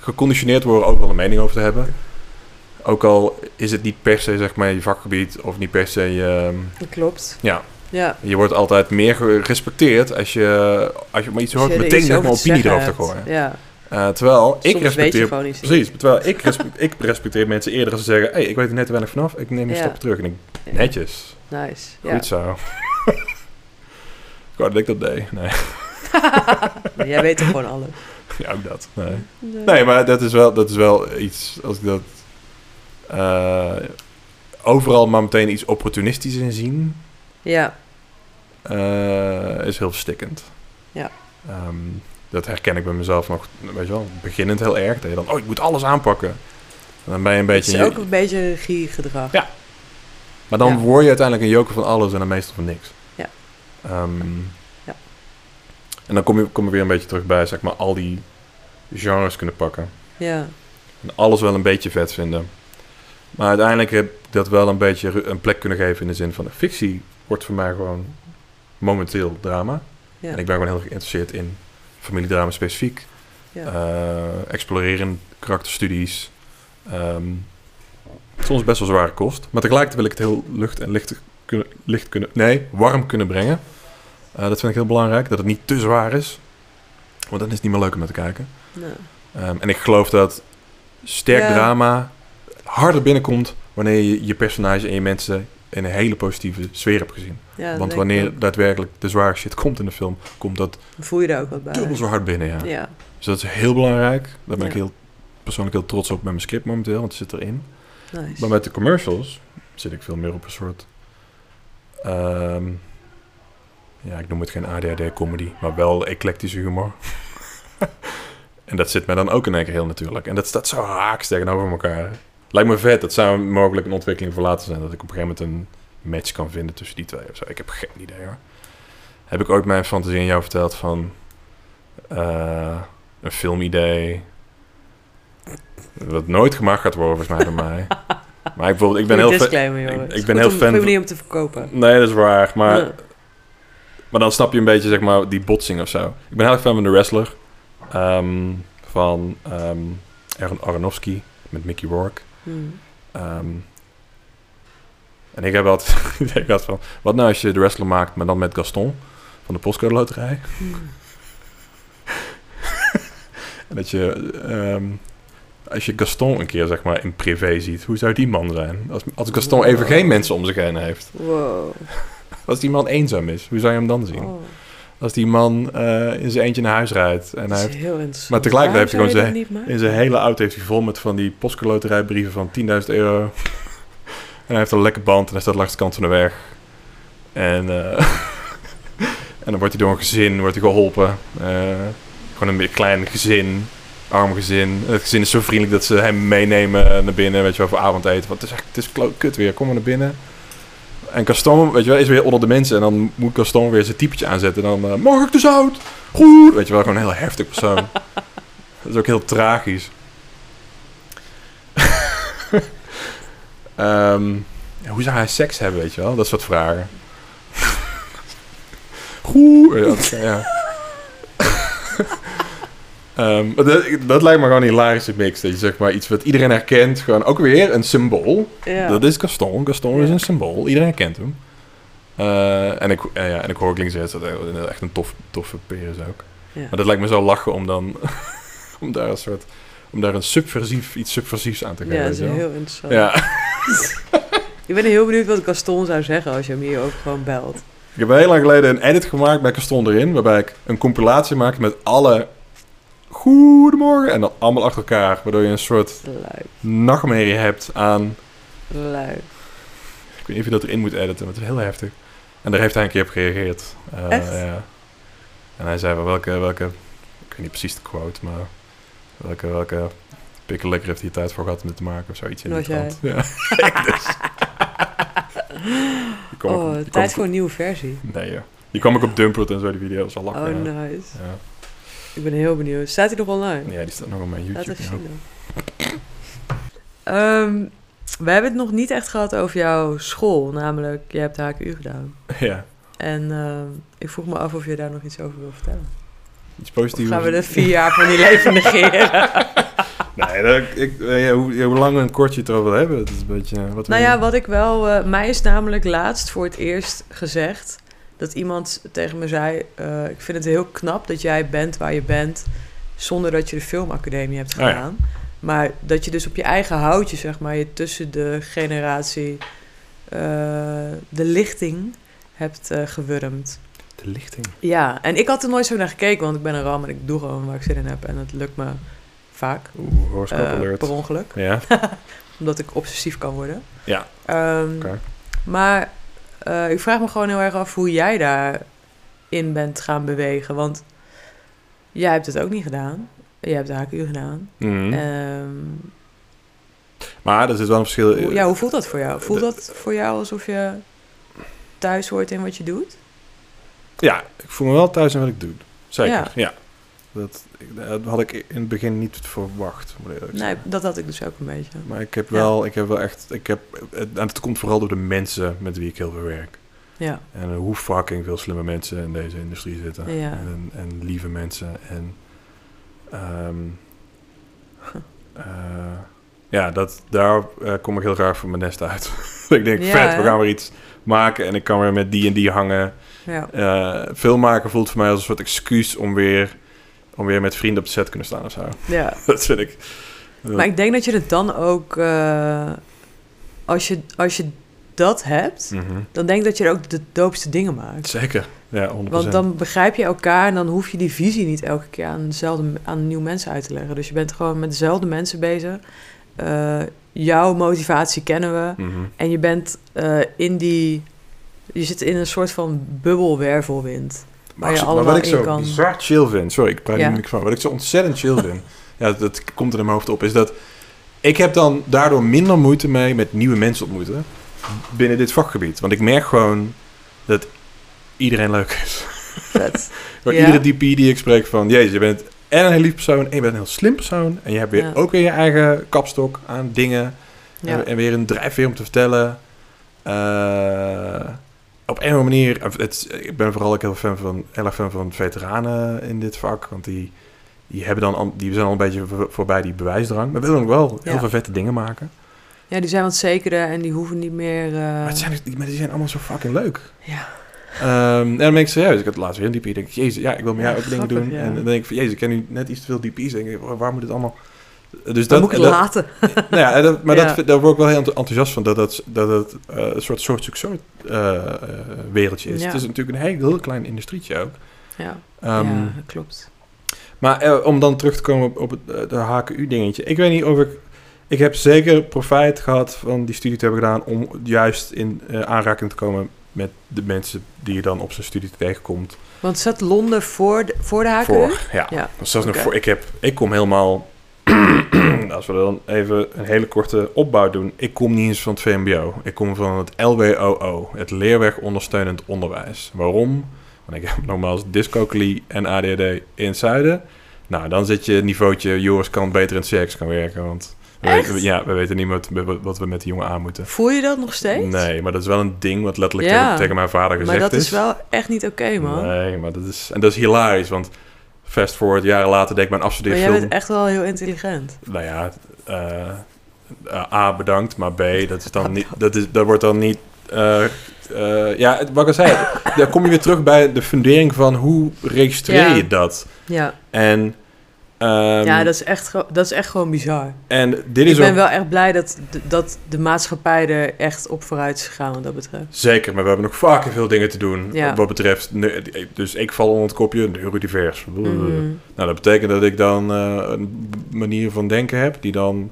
geconditioneerd worden ook wel een mening over te hebben. Ook al is het niet per se zeg maar je vakgebied of niet per se... ehm,
Dat klopt.
ja,
Ja.
je wordt altijd meer gerespecteerd als je, als je maar iets
Als
hoort,
je er
meteen
iets
zeg maar
over te
opinie
zeggen
erover te
hebt.
gooien.
Ja.
Eh, terwijl ik
Soms weet je
respecteer.
gewoon iets. niet.
Precies, terwijl ik, respe- ik respecteer mensen eerder als ze zeggen: hey, ik weet er net te weinig vanaf, ik neem een
Ja.
stap terug. En ik,
Ja.
netjes,
Nice. Ja.
goed zo. ik wou dat ik dat deed. Nee,
Maar jij weet toch gewoon alles.
ja, ook dat. Nee, nee maar dat is, wel, dat is wel iets als ik dat. eh, overal maar meteen iets opportunistisch in zien.
Ja.
eh, is heel verstikkend.
Ja.
Ehm, dat herken ik bij mezelf nog, weet je wel, beginnend heel erg. Dat je dan, oh, ik moet alles aanpakken. En dan ben je een
Het
beetje...
is ook een beetje regiegedrag.
Ja. Maar dan
ja.
word je uiteindelijk een joker van alles en dan meestal van niks.
Ja.
Ehm,
Ja.
En dan kom je, kom je weer een beetje terug bij, zeg maar, al die genres kunnen pakken.
Ja.
En alles wel een beetje vet vinden. Maar uiteindelijk heb ik dat wel een beetje ru- een plek kunnen geven in de zin van... de fictie wordt voor mij gewoon momenteel drama.
Ja.
En ik ben gewoon heel geïnteresseerd in familiedrama specifiek.
Ja.
Eh, exploreren karakterstudies. Ehm, soms best wel zware kost. Maar tegelijkertijd wil ik het heel lucht en licht kunnen... Licht kunnen nee, warm kunnen brengen. Eh, dat vind ik heel belangrijk. Dat het niet te zwaar is. Want dan is het niet meer leuk om naar te kijken.
Nou,
Ehm, en ik geloof dat sterk
Ja.
drama harder binnenkomt... wanneer je je personage en je mensen in een hele positieve sfeer hebt gezien.
ja, dat denk
Want
ik
wanneer
ook.
daadwerkelijk de zware shit komt in de film... komt dat
Dan voel je er ook wat bij.
dubbel zo hard binnen, ja.
Ja.
Dus dat is heel belangrijk. Daar ben ik
Ja.
heel, persoonlijk heel trots op met mijn script momenteel, want het zit erin.
Nice.
Maar met de commercials zit ik veel meer op een soort... ehm, ja, ik noem het geen ADHD-comedy, maar wel eclectische humor. en dat zit mij dan ook in één keer heel natuurlijk. En dat staat zo haaks tegenover elkaar. Lijkt me vet, dat zou mogelijk een ontwikkeling voor later zijn. Dat ik op een gegeven moment een match kan vinden tussen die twee of zo. Ik heb geen idee hoor. Heb ik ooit mijn fantasie aan jou verteld van... eh, een filmidee... Wat nooit gemaakt gaat worden volgens mij bij mij. Maar ik, bijvoorbeeld, ik ben heel... fan-
disclaimer,
ik-
joh.
ik ben heel fan
Een
van-
manier om te verkopen.
Nee, dat is waar. Maar,
Ja.
maar dan snap je een beetje, zeg maar, die botsing of zo. Ik ben heel erg fan van de wrestler. ehm, van ehm Aaron Aronofsky met Mickey Rourke.
Hm.
Ehm, en ik heb altijd ik denk altijd van, wat nou als je de wrestler maakt, maar dan met Gaston van de postcode loterij? En dat je, ehm, als je Gaston een keer, zeg maar, in privé ziet, hoe zou die man zijn? Als, als Gaston even geen mensen om zich heen heeft.
Wow.
Als die man eenzaam is, hoe zou je hem dan zien?
Oh,
Als die man eh, in zijn eindje naar huis rijdt. En
dat
hij
is
heeft,
heel interessant.
maar tegelijkertijd
Waarom
heeft
zou
hij
je dat niet maken?
in zijn hele auto heeft hij vol met van die postcoloterijbrieven van 10.000 euro. en hij heeft een lekker band en hij staat langs de kant van de weg. En, eh, en dan wordt hij door een gezin wordt hij geholpen. Eh, gewoon een beetje klein gezin. Arm gezin. Het gezin is zo vriendelijk dat ze hem meenemen naar binnen. Weet je wel, voor avondeten. Want het is echt het is klo- kut weer. Kom maar naar binnen. En Gaston, weet je wel, is weer onder de mensen. En dan moet Gaston weer zijn typetje aanzetten. En dan, eh, mag ik de zout? Goed. Weet je wel, gewoon een heel heftig persoon. Dat is ook heel tragisch. Ehm, ja, hoe zou hij seks hebben, weet je wel? Dat soort vragen. Goed. Ja, oké, ja. Ehm, maar dat, dat lijkt me gewoon een hilarische mix. Dat je zeg maar iets wat iedereen herkent. Gewoon ook weer een symbool.
Ja.
Dat is Gaston. Gaston is
Ja.
een symbool. Iedereen kent hem. Eh, en, ik, eh, ja, en ik hoor ook links en rechts dat hij echt een tof, toffe peer is ook.
Ja.
Maar dat lijkt me zo lachen om dan... om daar een soort... Om daar een subversief, iets subversiefs aan te geven.
Ja, dat
weet
is
je wel.
heel interessant.
ja.
Ik ben heel benieuwd wat Gaston zou zeggen als je hem hier ook gewoon belt.
Ik heb heel lang geleden een edit gemaakt bij Gaston erin. Waarbij ik een compilatie maakte met alle... Goedemorgen. En dan allemaal achter elkaar. Waardoor je een soort
Lui,
nachtmerrie hebt aan...
lui.
Ik weet niet of je dat erin moet editen, maar het is heel heftig. En daar heeft hij een keer op gereageerd. Eh,
Echt?
Ja. En hij zei wel welke, welke, ik weet niet precies de quote, maar welke, welke pikkelekker heeft hij tijd voor gehad om dit te maken of zoiets. in
Toen
die
was
trant. Ja. Ik dus. Die kwam ik op-
Oh,
die kwam
tijd
ik
voor een nieuwe versie.
op- Nee joh. Die kwam ik op Dumpert en zo, die video's al lachen.
Oh,
ja.
nice.
Ja.
Ik ben heel benieuwd. Staat hij nog online?
Ja, die staat nog op mijn
Laat
YouTube.
even
ja.
zien dan. Ehm, we hebben het nog niet echt gehad over jouw school. Namelijk, jij hebt de HKU gedaan.
Ja,
En ehm, ik vroeg me af of je daar nog iets over wil vertellen.
iets
Of
positiefs.
gaan we de vier jaar van die leven negeren?
Nee, dat, ik, eh, ja, hoe, ja, hoe lang en kort je het erover wil hebben, dat is een beetje... eh, Wat
nou
wil je-
ja, wat ik wel... eh, mij is namelijk laatst voor het eerst gezegd... dat iemand tegen me zei... eh, ik vind het heel knap dat jij bent waar je bent... zonder dat je de filmacademie hebt
Oh ja.
gedaan. Maar dat je dus op je eigen houtje, zeg maar... je tussen de generatie... eh, de lichting hebt eh, gewurmd.
De lichting.
Ja, en ik had er nooit zo naar gekeken... want ik ben een ram en ik doe gewoon waar ik zin in heb... en het lukt me vaak...
Oeh, horoscoop
eh,
alert.
per ongeluk
Ja.
omdat ik obsessief kan worden.
Ja.
Ehm,
Oké.
Maar eh, ik vraag me gewoon heel erg af hoe jij daarin bent gaan bewegen. Want jij hebt het ook niet gedaan. Jij hebt de HKU gedaan.
Mhm.
Ehm,
Maar er zit wel een verschil.
hoe, ja, hoe voelt dat voor jou? Voelt
Eh, de-
dat voor jou alsof je thuis hoort in wat je doet?
Ja, ik voel me wel thuis in wat ik doe. Zeker, ja.
Ja.
Dat, ik- dat had ik in het begin niet verwacht. Moet ik eerlijk
Nee,
zeggen.
dat had ik dus ook een beetje.
Maar ik heb
Ja.
wel, ik heb wel echt, ik heb, en het komt vooral door de mensen met wie ik heel veel werk.
Ja,
En hoe fucking veel slimme mensen in deze industrie zitten.
Ja.
En, en lieve mensen. En ehm, eh, ja, dat, daar eh, kom ik heel graag van mijn nest uit. ik denk,
Ja,
vet, we
hè?
gaan weer iets maken. En ik kan weer met die en die hangen.
ja.
Eh, filmmaken voelt voor mij als een soort excuus om weer, om weer met vrienden op de set te kunnen staan of zo.
ja.
Dat vind ik.
Maar ik denk dat je het dan ook... eh, als, je, als je dat hebt,
Mhm.
dan denk ik dat je er ook de doopste dingen maakt.
Zeker. Ja, 100%.
Want dan begrijp je elkaar en dan hoef je die visie niet elke keer aan, dezelfde, aan nieuwe mensen uit te leggen. Dus je bent gewoon met dezelfde mensen bezig. Eh, eh, jouw motivatie kennen we.
Mhm.
En je bent eh, in die. Je zit in een soort van bubbelwervelwind. Waar je
Maar,
allemaal
wat ik
in
zo
kan.
bizar chill vind... Sorry, ik praat
Ja.
hier niks van. Wat ik zo ontzettend chill vind... ja, dat komt er in mijn hoofd op... is dat ik heb dan daardoor minder moeite mee... met nieuwe mensen ontmoeten... binnen dit vakgebied. Want ik merk gewoon... dat iedereen leuk is.
Vet.
Voor
Ja.
Iedere DP die ik spreek van... Jezus, je bent en een heel lief persoon... en je bent een heel slim persoon... en je hebt weer
Ja.
ook weer je eigen kapstok aan dingen...
Ja.
En, en weer een drijfveer om te vertellen. Eh, op een of andere manier. eh, Het, ik ben vooral ook heel, fan van, heel erg fan van veteranen in dit vak. Want die, die, hebben dan, al- die zijn al een beetje voor- voorbij die bewijsdrang. Maar willen ook wel heel
Ja.
veel vette dingen maken.
ja, die zijn wat zekerder en die hoeven niet meer. eh,
Maar, het zijn, dus die, maar die zijn allemaal zo fucking leuk.
Ja.
Ehm, en dan ben ik serieus. Ik had laatst weer een DP. denk ik, jezus, ja, ik wil met jou
Ja,
ook dingen
grappig,
doen.
ja.
En dan denk ik, van, jezus, ik ken nu net iets te veel DP's. Denk ik, waar waar moet dit allemaal... Dus
dan moet ik het
dat,
laten.
nou ja, en dat, maar
Ja.
Dat, vind- daar word ik wel heel enth- enthousiast van. Dat dat, dat, het, eh, een soort soort succes eh, eh, wereldje is.
Ja.
Het is natuurlijk een heel, heel klein industrietje ook.
Ja,
Ehm,
ja, dat klopt.
Maar eh, om dan terug te komen op, op het eh, de HKU-dingetje. Ik weet niet of ik... Ik heb zeker profijt gehad van die studie te hebben gedaan... om juist in eh, aanraking te komen met de mensen die je dan op zijn studie tegenkomt.
Want zat Londen voor de, voor de HKU?
Voor, ja.
Ja,
Dus zelfs nog
oké.
voor, ik, heb, ik kom helemaal... als we dan even een hele korte opbouw doen. Ik kom niet eens van het VMBO. Ik kom van het LWOO. Het Leerweg Ondersteunend Onderwijs. Waarom? Want ik heb nogmaals dyscalculie en ADHD in het zuiden. Nou, dan zit je niveautje... Joris kan beter in het CX gaan werken, want... we
Echt?
weten- ja, we weten niet wat, wat we met die jongen aan moeten.
Voel je dat nog steeds?
Nee, maar dat is wel een ding wat letterlijk
Ja.
tegen, tegen mijn vader gezegd
Maar dat is
is
wel echt niet oké, man.
Nee, maar dat is... En dat is hilarisch, want... Fast forward, jaren later denk ik mijn
maar jij
afstudeerfilm...
bent echt wel heel intelligent.
Nou ja, eh, eh, A bedankt, maar B, dat, is dan niet, dat, is, dat wordt dan niet... eh, eh, ja, het- wat ik al zei, daar kom je weer terug bij de fundering van hoe registreer
Ja.
je dat?
Ja,
En, ehm,
ja dat, is echt, ge- dat is echt gewoon bizar.
en dit
Ik
is
ben
ook
wel echt blij dat, de- dat de maatschappij er echt op vooruit is gegaan wat dat betreft.
Zeker, maar we hebben nog vaker veel dingen te doen
Ja.
wat betreft... ne- Dus ik val onder het kopje neurodivers.
Mhm.
Nou, dat betekent dat ik dan eh, een b- manier van denken heb die dan...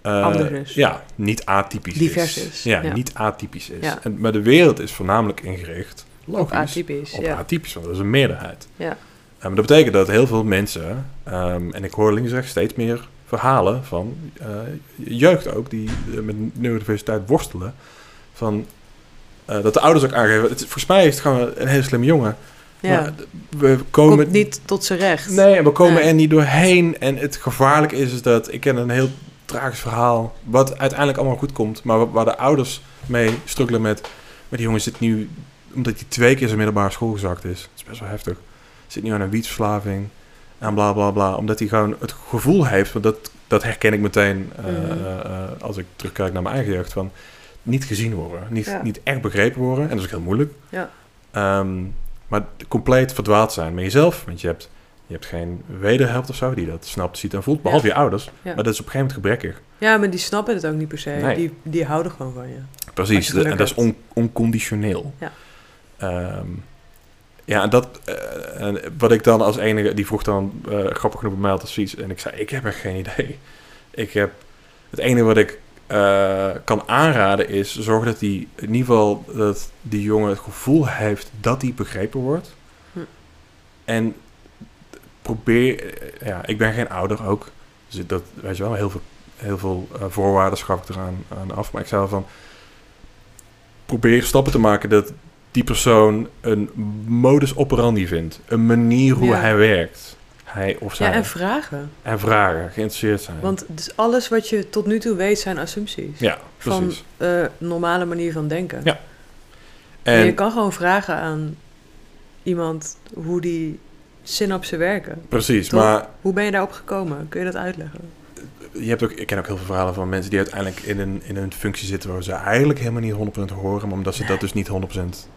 eh,
Anders is.
Ja, niet atypisch
Divers
is.
is,
Ja,
ja.
niet atypisch is.
Ja.
En, maar de wereld is voornamelijk ingericht,
Op
logisch,
atypisch,
op
ja.
atypisch, want dat is een meerderheid.
Ja.
Eh, maar dat betekent dat heel veel mensen, ehm, en ik hoor links en rechts steeds meer verhalen van eh, jeugd ook, die eh, met neurodiversiteit worstelen, van... eh, dat de ouders ook aangeven. Het, is- volgens mij is het gewoon een hele slimme jongen.
ja.
Maar we komen
Komt niet tot zijn recht.
Nee, en we komen
Nee.
er niet doorheen. En het gevaarlijk is, is dat ik ken een heel tragisch verhaal, wat uiteindelijk allemaal goed komt, maar wa- waar de ouders mee struggelen met, maar die jongen zit nu, omdat hij twee keer zijn middelbare school gezakt is, dat is best wel heftig, zit nu aan een wietverslaving en bla bla bla, omdat hij gewoon het gevoel heeft, want dat, dat herken ik meteen eh,
Mhm.
eh, als ik terugkijk naar mijn eigen jeugd, van niet gezien worden, niet,
Ja.
niet echt begrepen worden, en dat is ook heel moeilijk.
Ja.
Ehm, maar compleet verdwaald zijn met jezelf, want je hebt je hebt geen wederhelft of zo die dat snapt, ziet en voelt. Behalve je ouders. Maar dat is op een gegeven moment gebrekkig.
Ja, maar die snappen het ook niet per se.
Nee.
Die, die houden gewoon van je. Als
Precies.
je
de- en
geluk
dat is
hebt.
on- onconditioneel.
Ja.
Ehm, ja, en dat... eh, en wat ik dan als enige... Die vroeg dan eh, grappig genoeg bij mij had advies. En ik zei, ik heb echt geen idee. Ik heb... Het enige wat ik eh, kan aanraden is... Zorg dat die... In ieder geval dat die jongen het gevoel heeft... Dat hij begrepen wordt.
Hm.
En probeer... eh, Ja, ik ben geen ouder ook. Dus dat... Weet je wel, heel veel, heel veel eh, voorwaarden schaf ik eraan aan af. Maar ik zei wel van... Probeer stappen te maken dat die persoon een modus operandi vindt. Een manier hoe
Ja.
hij werkt. Hij of zij.
Ja,
en,
en vragen.
vragen, geïnteresseerd zijn.
Want dus alles wat je tot nu toe weet zijn assumpties.
ja,
van
precies.
eh, normale manier van denken.
Ja.
En
En
je kan gewoon vragen aan iemand hoe die synapsen werken.
precies,
Toch?
maar
Hoe ben je daarop gekomen? Kun je dat uitleggen?
je hebt ook, ik ken ook heel veel verhalen van mensen die uiteindelijk in een, in een functie zitten waar ze eigenlijk helemaal niet 100% horen, maar omdat ze dat dus niet 100%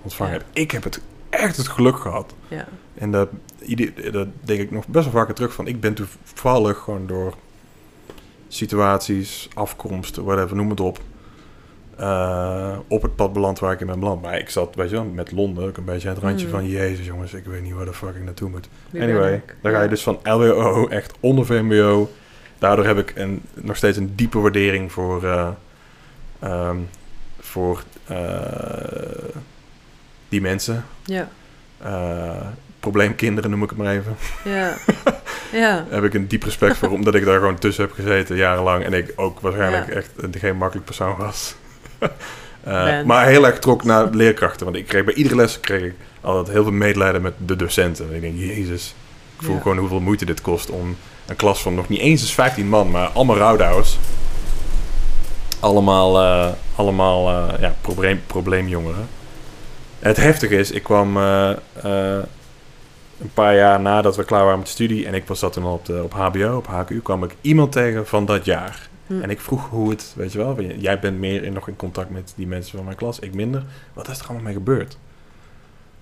ontvangen
Ja.
hebben. Ik heb het echt het geluk gehad.
Ja.
En dat, ieder- dat denk ik nog best wel vaker terug van. Ik ben toevallig gewoon door situaties, afkomsten, whatever, noem het op. eh, op het pad beland waar ik in ben beland. Maar ik zat, weet je wel, met Londen ook een beetje aan het randje
Mm.
van... Jezus jongens, ik weet niet waar de fuck ik naartoe moet.
Wie ben
Anyway,
ik?
dan ga
Ja.
je dus van LWO, echt onder VMBO. Daardoor heb ik een, nog steeds een diepe waardering voor, eh, ehm, voor eh, die mensen.
Ja,
Eh, probleemkinderen noem ik het maar even.
ja, ja.
Daar heb ik een diep respect voor, omdat ik daar gewoon tussen heb gezeten jarenlang. En ik ook waarschijnlijk
Ja.
echt geen makkelijk persoon was. Eh,
Bent.
maar heel erg trok naar leerkrachten. Want ik kreeg bij iedere les kreeg ik altijd heel veel medelijden met de docenten. En ik denk, jezus, ik voel
Ja.
gewoon hoeveel moeite dit kost om een klas van nog niet eens eens 15 man, maar allemaal rouwdouwers. Allemaal, eh, allemaal eh, ja, probleem, probleemjongeren. Het heftige is, ik kwam eh, eh, een paar jaar nadat we klaar waren met de studie... en ik was dat toen al op, de, op HBO, op HKU... kwam ik iemand tegen van dat jaar.
Hm.
En ik vroeg hoe het, weet je wel... van, jij bent meer in, nog in contact met die mensen van mijn klas, ik minder. Wat is er allemaal mee gebeurd?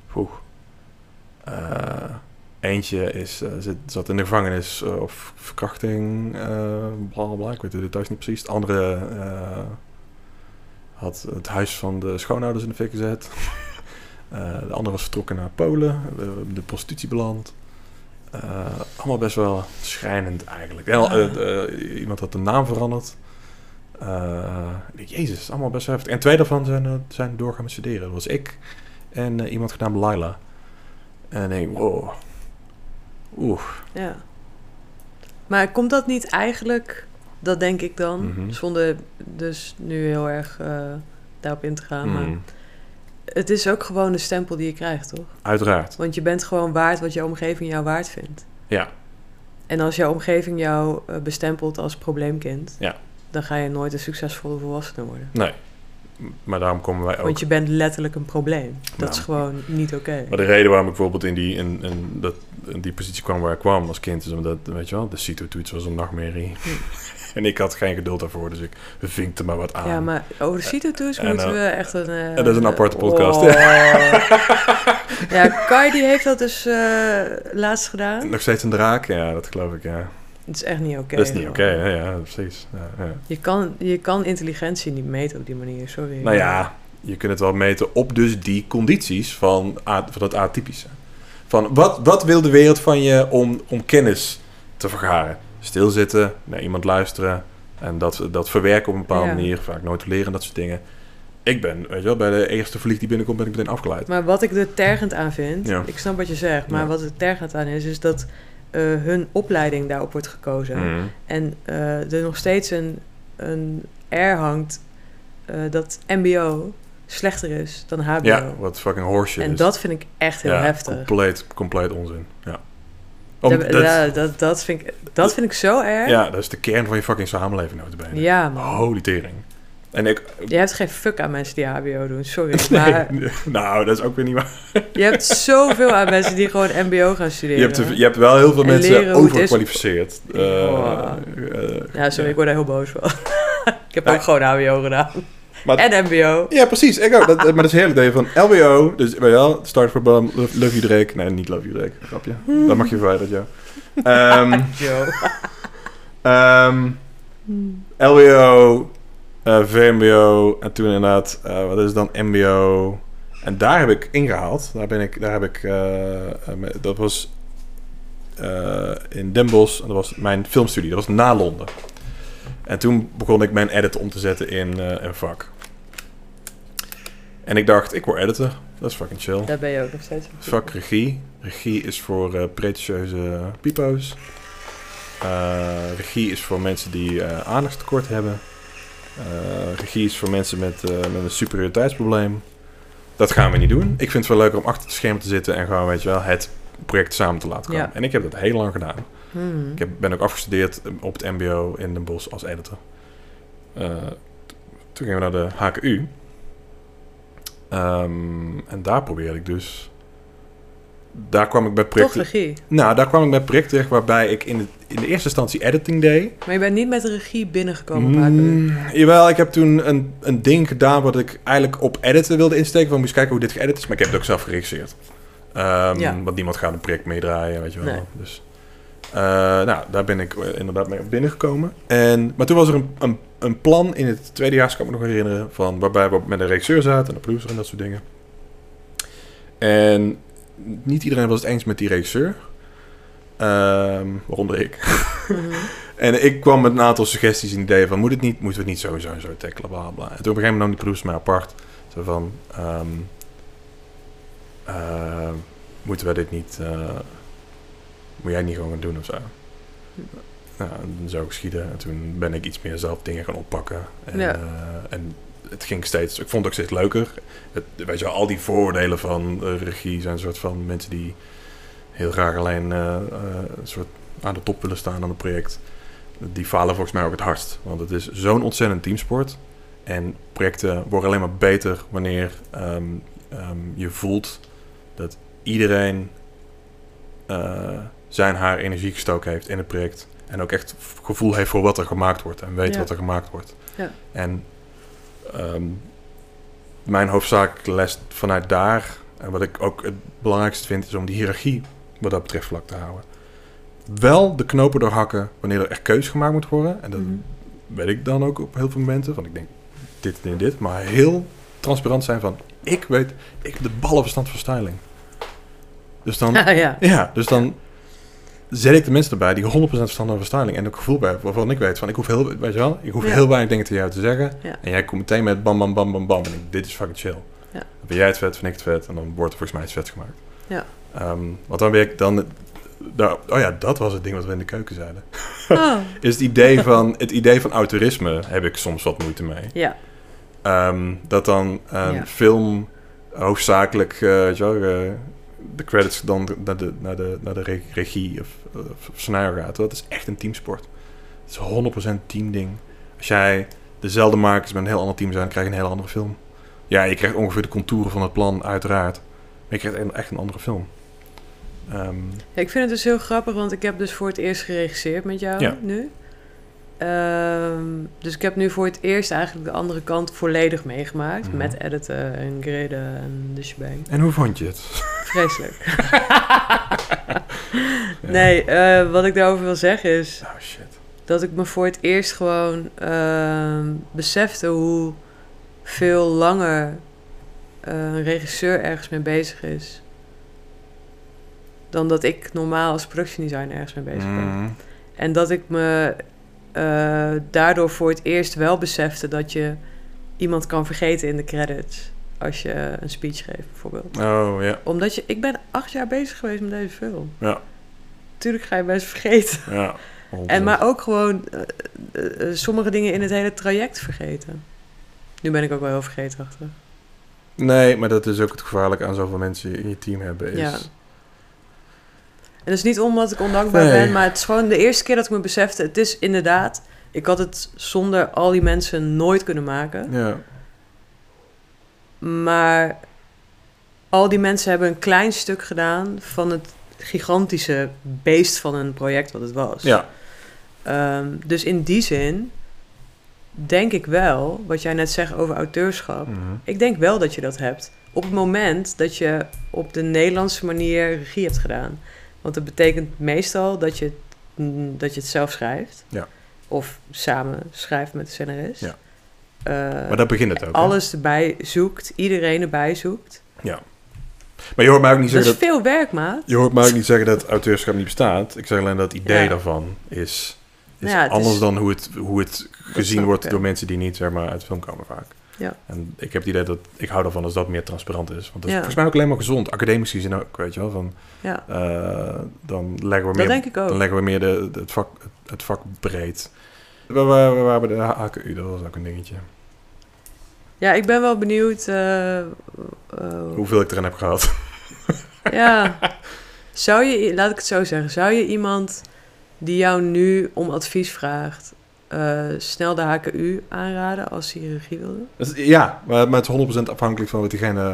Vroeg. Eh, eentje is, eh, zit, zat in de gevangenis eh, of verkrachting, eh bla bla bla. Ik weet de details niet precies. De andere eh, had het huis van de schoonouders in de fik gezet. Eh, de andere was vertrokken naar Polen, eh, de prostitutie beland. Eh, allemaal best wel schrijnend eigenlijk. En, al- eh, eh, iemand had de naam veranderd. Eh, ik denk, jezus, allemaal best wel heftig. En twee daarvan zijn, eh, zijn doorgaan met studeren. Dat was ik en eh, iemand genaamd Laila. En ik denk, wow. Oeh.
Ja. Maar komt dat niet eigenlijk, dat denk ik dan,
Mhm.
zonder dus nu heel erg eh, daarop in te gaan. Maar
Mm,
het is ook gewoon de stempel die je krijgt, toch?
Uiteraard.
Want je bent gewoon waard wat jouw omgeving jou waard vindt.
Ja.
En als jouw omgeving jou eh, bestempelt als probleemkind,
Ja.
dan ga je nooit een succesvolle volwassene worden.
Nee. Maar daarom komen wij ook.
Want je bent letterlijk een probleem. Dat
Nou.
is gewoon niet oké.
Maar de reden waarom ik bijvoorbeeld in die, in, in dat, in die positie kwam waar ik kwam als kind, is omdat, weet je wel, de CITO-toets was een nachtmerrie.
Hm.
en ik had geen geduld daarvoor, dus ik vinkte maar wat aan.
Ja, maar over de CITO-toets
En,
moeten
eh,
we echt een... eh,
dat is een aparte podcast.
Oh. ja, Kai die heeft dat dus eh, laatst gedaan.
Nog steeds een draak? Ja, dat geloof ik, ja.
Het is echt niet oké.
dat is niet
man.
oké, hè? ja, precies. Ja, ja.
Je, kan, je kan intelligentie niet meten op die manier, sorry.
Nou ja, je kunt het wel meten op dus die condities van, a- van dat atypische. Van wat, wat wil de wereld van je om, om kennis te vergaren? Stilzitten, naar iemand luisteren en dat, dat verwerken op een bepaalde
Ja.
manier. Vaak nooit leren, dat soort dingen. Ik ben, weet je wel, bij de eerste vlieg die binnenkomt ben ik meteen afgeleid.
Maar wat ik er tergend aan vind,
Ja.
ik snap wat je zegt, maar
Ja.
wat er tergend aan is, is dat eh, hun opleiding daarop wordt gekozen.
Mhm.
En eh, er nog steeds een, een air hangt eh, dat MBO slechter is dan HBO.
Ja, wat fucking horseshit
en
is.
dat vind ik echt heel
Ja,
heftig.
Compleet, compleet onzin. Ja. Om-
Dat,
dat-
ja, dat, dat, vind ik, dat vind ik zo erg.
ja, dat is de kern van je fucking samenleving, notabene.
Ja, man.
Holy tering. En ik,
Je hebt geen fuck aan mensen die HBO doen, sorry. Maar
Nee, nou, dat is ook weer niet waar.
je hebt zoveel aan mensen die gewoon MBO gaan studeren.
Je hebt, te- je hebt wel heel veel
En
mensen
leren hoe het is.
overkwalificeerd. Eh,
Ja.
eh,
Ja, sorry, ik word daar heel boos van. ik heb
Nou,
ook gewoon HBO gedaan.
maar-
en MBO.
ja, precies. Ik ook. Dat, maar dat is heerlijk. Dat je van LWO, dus weet je wel, Start for Bottom, Love, Love You Drake. Nee, niet Love You Drake. Grapje.
Hmm.
Dat mag je verwijderen, ja. Ehm,
Joe.
ehm, LWO, eh, VMBO en toen inderdaad, eh, wat is het dan, MBO. En daar heb ik ingehaald. Daar ben ik, daar heb ik, eh, eh, me- dat was eh, in Den Bosch, dat was mijn filmstudie, dat was na Londen. En toen begon ik mijn edit om te zetten in eh, een vak. En ik dacht, ik word editor, dat is fucking chill.
Daar ben je ook nog steeds.
Vak regie. Regie is voor eh pretentieuze pipo's. Eh, regie is voor mensen die eh, aandachtstekort hebben. Eh, regie is voor mensen met, eh, met een superioriteitsprobleem. Dat gaan we niet doen. Ik vind het wel leuker om achter het scherm te zitten en gewoon, weet je wel, het project samen te laten komen.
Ja.
En ik heb dat heel lang gedaan.
Hmm.
Ik heb, ben ook afgestudeerd op het MBO in Den Bosch als editor. Eh, t- toen gingen we naar de HKU. Ehm, en daar probeerde ik dus. Daar kwam ik bij
Toch
projecten.
regie.
Nou, daar kwam ik bij projecten terecht waarbij ik in, het, in de eerste instantie editing deed.
Maar je bent niet met de regie binnengekomen op
Mm,
HBO.
jawel, ik heb toen een, een ding gedaan wat ik eigenlijk op editen wilde insteken. Van moest kijken hoe dit geëdit is. Maar ik heb het ook zelf geregisseerd. Ehm,
Ja.
Want niemand gaat een project meedraaien, weet je wel.
Nee.
Dus, eh, nou, daar ben ik eh, inderdaad mee op binnengekomen. En, maar toen was er een, een, een plan in het tweede jaar, kan ik me nog herinneren, van waarbij we met een regisseur zaten en een producer en dat soort dingen. En niet iedereen was het eens met die regisseur. Eh, Ehm, waaronder ik.
Mhm.
en ik kwam met een aantal suggesties en ideeën van... moet het niet, moeten we het niet sowieso en zo tackelen, bla bla. bla. En toen op een gegeven moment nam die producer mij apart. Zo van... ehm, eh, moeten we dit niet... eh, moet jij niet gewoon gaan doen of zo? Nou, en zo geschieden. En toen ben ik iets meer zelf dingen gaan oppakken. En,
Ja.
eh, en het ging steeds... Ik vond het ook steeds leuker. Het, weet je wel, al die vooroordelen van eh, regie zijn een soort van mensen die... heel graag alleen eh, eh, een soort aan de top willen staan aan het project, die falen volgens mij ook het hardst. Want het is zo'n ontzettend teamsport. En projecten worden alleen maar beter wanneer ehm, ehm, je voelt dat iedereen eh, zijn haar energie gestoken heeft in het project. En ook echt gevoel heeft voor wat er gemaakt wordt en weet
Ja.
wat er gemaakt wordt.
Ja.
En ehm, mijn hoofdzakelijke les vanuit daar, en wat ik ook het belangrijkste vind, is om die hiërarchie wat dat betreft vlak te houden. Wel de knopen doorhakken wanneer er echt keus gemaakt moet worden. En dat
Mhm.
weet ik dan ook op heel veel momenten. Want ik denk dit en dit. Maar heel transparant zijn van... Ik weet... Ik heb de ballenverstand van styling. Dus dan...
Ja, ja.
ja, dus dan zet ik de mensen erbij die 100% verstand hebben van styling. En ook gevoel bij hebben waarvan ik weet van... Ik hoef heel, weet je wel, ik hoef
Ja.
heel weinig dingen tegen jou te zeggen.
Ja.
En jij komt meteen met bam, bam, bam, bam, bam. En ik, dit is fucking chill.
Ja.
Dan ben jij het vet, vind ik het vet. En dan wordt er volgens mij iets vets gemaakt.
Ja.
Ehm, want dan ben ik dan... daar- oh ja, dat was het ding wat we in de keuken zeiden
Oh.
is het idee van, het idee van auteurisme heb ik soms wat moeite mee.
Ja,
Ehm, dat dan ehm,
Ja.
film hoofdzakelijk eh, weet je wel, eh, de credits dan naar de, naar de, naar de re- regie of, of, of scenario gaat. Dat is echt een teamsport. Het is 100% teamding. Als jij dezelfde makers met een heel ander team zijn, dan krijg je een heel andere film. Ja, je krijgt ongeveer de contouren van het plan, uiteraard. Maar je krijgt een- echt een andere film. Ehm,
Ja, ik vind het dus heel grappig, want ik heb dus voor het eerst geregisseerd met jou
Ja.
nu. Ehm, dus ik heb nu voor het eerst eigenlijk de andere kant volledig meegemaakt.
Mhm.
Met editen en graden en de shebang.
en hoe vond je het?
Vreselijk. Nee, eh, wat ik daarover wil zeggen is
Oh shit.
dat ik me voor het eerst gewoon ehm, besefte hoe veel langer eh, een regisseur ergens mee bezig is. Dan dat ik normaal als productiedesigner ergens mee bezig ben.
Mm.
En dat ik me eh, daardoor voor het eerst wel besefte dat je iemand kan vergeten in de credits. Als je een speech geeft, bijvoorbeeld.
Oh ja.
Omdat je, ik ben acht jaar bezig geweest met deze film.
Ja.
Tuurlijk ga je best vergeten.
Ja.
En maar ook gewoon eh, eh, eh, sommige dingen in het hele traject vergeten. Nu ben ik ook wel heel vergeetachtig.
Nee, maar dat is ook het gevaarlijke aan zoveel mensen in je team hebben. Is...
Ja. En dat is niet omdat ik ondankbaar
Nee.
ben, maar het is gewoon de eerste keer dat ik me besefte. Het is inderdaad, ik had het zonder al die mensen nooit kunnen maken.
Ja.
Maar al die mensen hebben een klein stuk gedaan van het gigantische beest van een project wat het was.
ja.
Ehm, dus in die zin denk ik wel, wat jij net zegt over auteurschap.
Mhm.
Ik denk wel dat je dat hebt op het moment dat je op de Nederlandse manier regie hebt gedaan. Want dat betekent meestal dat je, mm, dat je het zelf schrijft.
Ja.
Of samen schrijft met de scenarist.
Ja.
Eh,
Maar daar begint het ook. hè?
alles erbij zoekt, iedereen erbij zoekt.
Maar je hoort mij ook niet
Dat is
zeggen dat,
veel werk, maat.
je hoort mij ook niet zeggen dat auteurschap niet bestaat. Ik zeg alleen dat het idee
Ja.
daarvan is, is
Nou ja, het
anders
is-
dan hoe het, hoe het gezien
snap
wordt
ik, ja.
door mensen die niet zeg maar, uit film komen vaak.
Ja.
En ik heb het idee dat ik hou ervan als dat meer transparant is. Want dat is
Ja.
volgens mij ook alleen maar gezond. Academisch gezien ook, weet je wel. Van,
Ja,
eh, dan leggen we meer
dat denk ik ook.
Dan leggen we meer de, de- het, vak, het vak breed. We waren we, waren bij de HKU, dat was ook een dingetje.
Ja, ik ben wel benieuwd. eh, eh,
Hoeveel ik erin heb gehad.
ja. Zou je, laat ik het zo zeggen, zou je iemand die jou nu om advies vraagt, eh, snel de HKU aanraden als hij regie wil doen?
Dus ja, maar, maar het is 100% afhankelijk van wat diegene, waar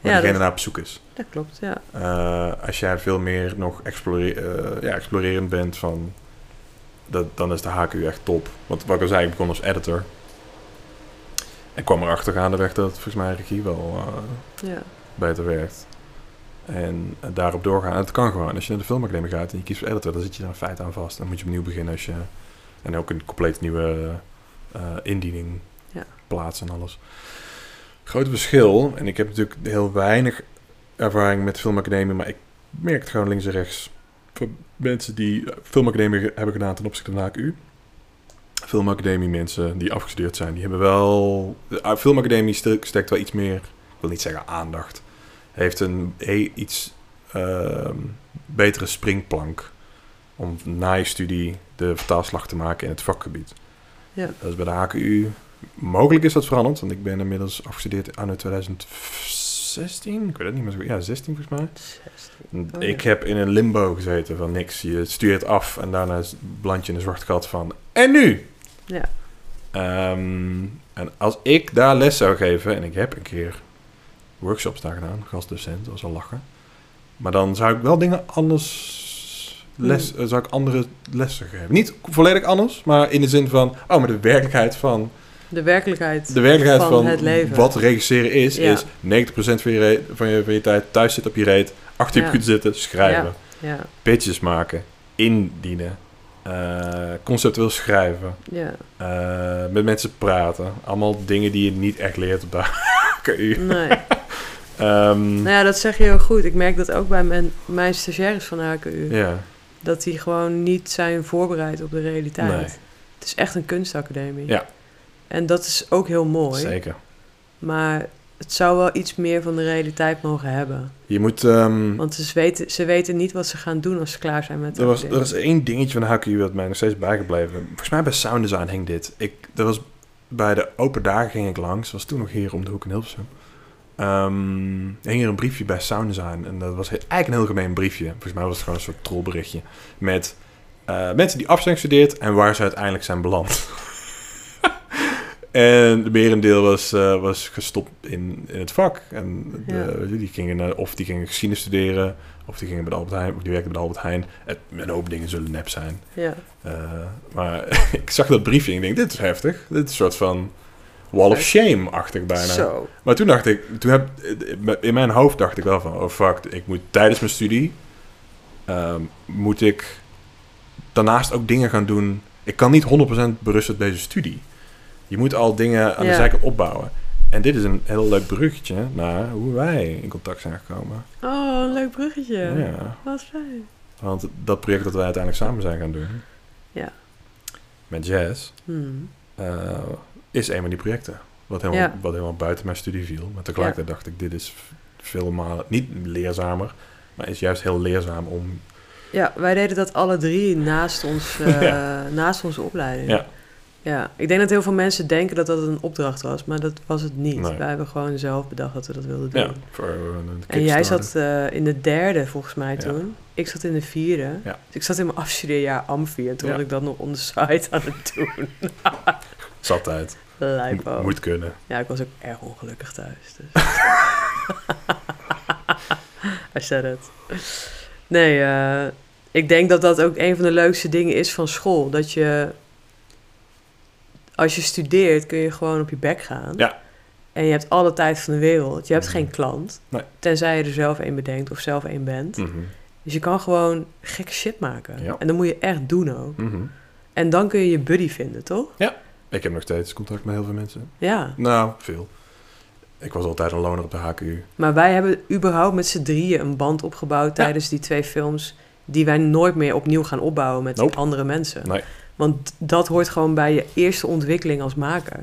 Ja,
diegene
dat-
naar op zoek is.
Dat klopt, ja.
Eh, als jij veel meer nog explore- eh, ja, explorerend bent, van, dat, dan is de HKU echt top. Want wat ik al zei, ik begon als editor. En kwam erachter gaandeweg dat volgens mij regie wel eh,
ja.
beter werkt. En eh, daarop doorgaan. En dat kan gewoon. Als je naar de filmacademie gaat en je kiest voor editor, dan zit je daar in feite aan vast. Dan moet je opnieuw beginnen als je... En ook een compleet nieuwe eh, indiening
Ja.
plaatsen en alles. Groot verschil. En ik heb natuurlijk heel weinig ervaring met filmacademie, maar ik merk het gewoon links en rechts. Voor mensen die eh, filmacademie ge- hebben gedaan ten opzichte van de HKU. Filmacademie mensen die afgestudeerd zijn, die hebben wel... De eh, filmacademie stel- steekt wel iets meer, ik wil niet zeggen aandacht. Heeft een he- iets ehm, betere springplank om na je studie de vertaalslag te maken in het vakgebied.
Ja.
Dat is bij de HKU. Mogelijk is dat veranderd, want ik ben inmiddels afgestudeerd aan 2016. Ik weet het niet meer zo goed. Ja, 16 volgens mij.
Oh, ja.
Ik heb in een limbo gezeten van niks. Je stuurt af en daarna bland je in een zwart gat van... En nu?
Ja.
Ehm, en als ik daar les zou geven... En ik heb een keer workshops daar gedaan. Gastdocent, dat was al lachen. Maar dan zou ik wel dingen anders... Les,
Hmm.
eh, Zou ik andere lessen geven. Niet volledig anders, maar in de zin van... Oh, maar de werkelijkheid van...
De werkelijkheid.
De werkelijkheid van,
Van het leven.
wat regisseren is...
Ja.
Is 90% van je, re- van, je, van je tijd thuis zitten op je reet... Achter je
Ja.
computer zitten, schrijven
Ja,
pitches maken, indienen, eh, conceptueel schrijven,
ja.
eh, met mensen praten. Allemaal dingen die je niet echt leert op de HKU.
Nee.
Ehm,
nou ja, dat zeg je heel goed. Ik merk dat ook bij mijn, mijn stagiaires van HKU.
ja.
Dat die gewoon niet zijn voorbereid op de realiteit.
Nee.
Het is echt een kunstacademie.
Ja.
En dat is ook heel mooi.
zeker.
Maar het zou wel iets meer van de realiteit mogen hebben.
Je moet... ehm,
Want ze weten, ze weten niet wat ze gaan doen als ze klaar zijn met
er, was,
acteren.
er is één dingetje van de HKU dat mij nog steeds bijgebleven. Volgens mij bij Sound Design hing dit. Ik, dat was, bij de open dagen ging ik langs. was toen nog hier om de hoek in Hilversum. Ehm, er hing er een briefje bij Sound Design. En dat was he- eigenlijk een heel gemeen briefje. Volgens mij was het gewoon een soort trollberichtje. Met eh, mensen die af zijn gestudeerd en waar ze uiteindelijk zijn beland. en de merendeel was, eh, was gestopt in, in het vak. En de-
Ja.
weet je, die gingen, naar- of die gingen geschiedenis studeren. Of die gingen bij de Albert Heijn. Of die werkten bij de Albert Heijn. Het, een hoop dingen zullen nep zijn.
Ja.
Eh, maar ik zag dat briefje en ik denk, dit is heftig. Dit is een soort van wall of shame-achtig bijna.
Zo.
Maar toen dacht ik, toen heb, in mijn hoofd dacht ik wel van, oh fuck, ik moet tijdens mijn studie, ehm, moet ik daarnaast ook dingen gaan doen. Ik kan niet 100% berusten op deze studie. Je moet al dingen aan de
Ja.
zijkant opbouwen. En dit is een heel leuk bruggetje naar hoe wij in contact zijn gekomen.
Oh, een leuk bruggetje.
Ja.
Wat fijn.
Want dat project dat wij uiteindelijk samen zijn gaan doen.
Ja.
Met jazz.
Hmm.
eh, is een van die projecten. Wat helemaal,
Ja.
wat helemaal buiten mijn studie viel. Maar tegelijkertijd dacht ik, dit is v- veel malen niet leerzamer, maar is juist heel leerzaam om.
Ja, wij deden dat alle drie naast, ons, eh,
Ja.
naast onze opleiding.
Ja.
Ja, ik denk dat heel veel mensen denken dat dat een opdracht was, maar dat was het niet.
Nee.
Wij hebben gewoon zelf bedacht dat we dat wilden doen.
Ja, eh, voor een
en jij
Kickstarter.
zat eh, in de derde volgens mij
Ja.
toen. Ik zat in de vierde.
Ja.
Dus ik zat in mijn afstudeerjaar Amfi en toen
Ja.
had ik dat nog on the side aan het doen.
Zat uit.
Lijp ook.
Moet kunnen.
Ja, ik was ook erg ongelukkig thuis. Dus. I said it. Nee, eh, ik denk dat dat ook een van de leukste dingen is van school. Dat je, als je studeert, kun je gewoon op je bek gaan.
Ja.
En je hebt alle tijd van de wereld. Je hebt
Mhm.
geen klant.
Nee.
Tenzij je er zelf een bedenkt of zelf een bent.
Mhm,
Dus je kan gewoon gek shit maken.
Ja.
En dat moet je echt doen ook.
mhm.
En dan kun je je buddy vinden, toch?
Ik heb nog steeds contact met heel veel mensen.
Ja.
Nou, veel. Ik was altijd een loner op de HKU.
Maar wij hebben überhaupt met z'n drieën een band opgebouwd tijdens die twee films. Die wij nooit meer opnieuw gaan opbouwen met
Nope.
andere mensen.
Nee.
Want dat hoort gewoon bij je eerste ontwikkeling als maker.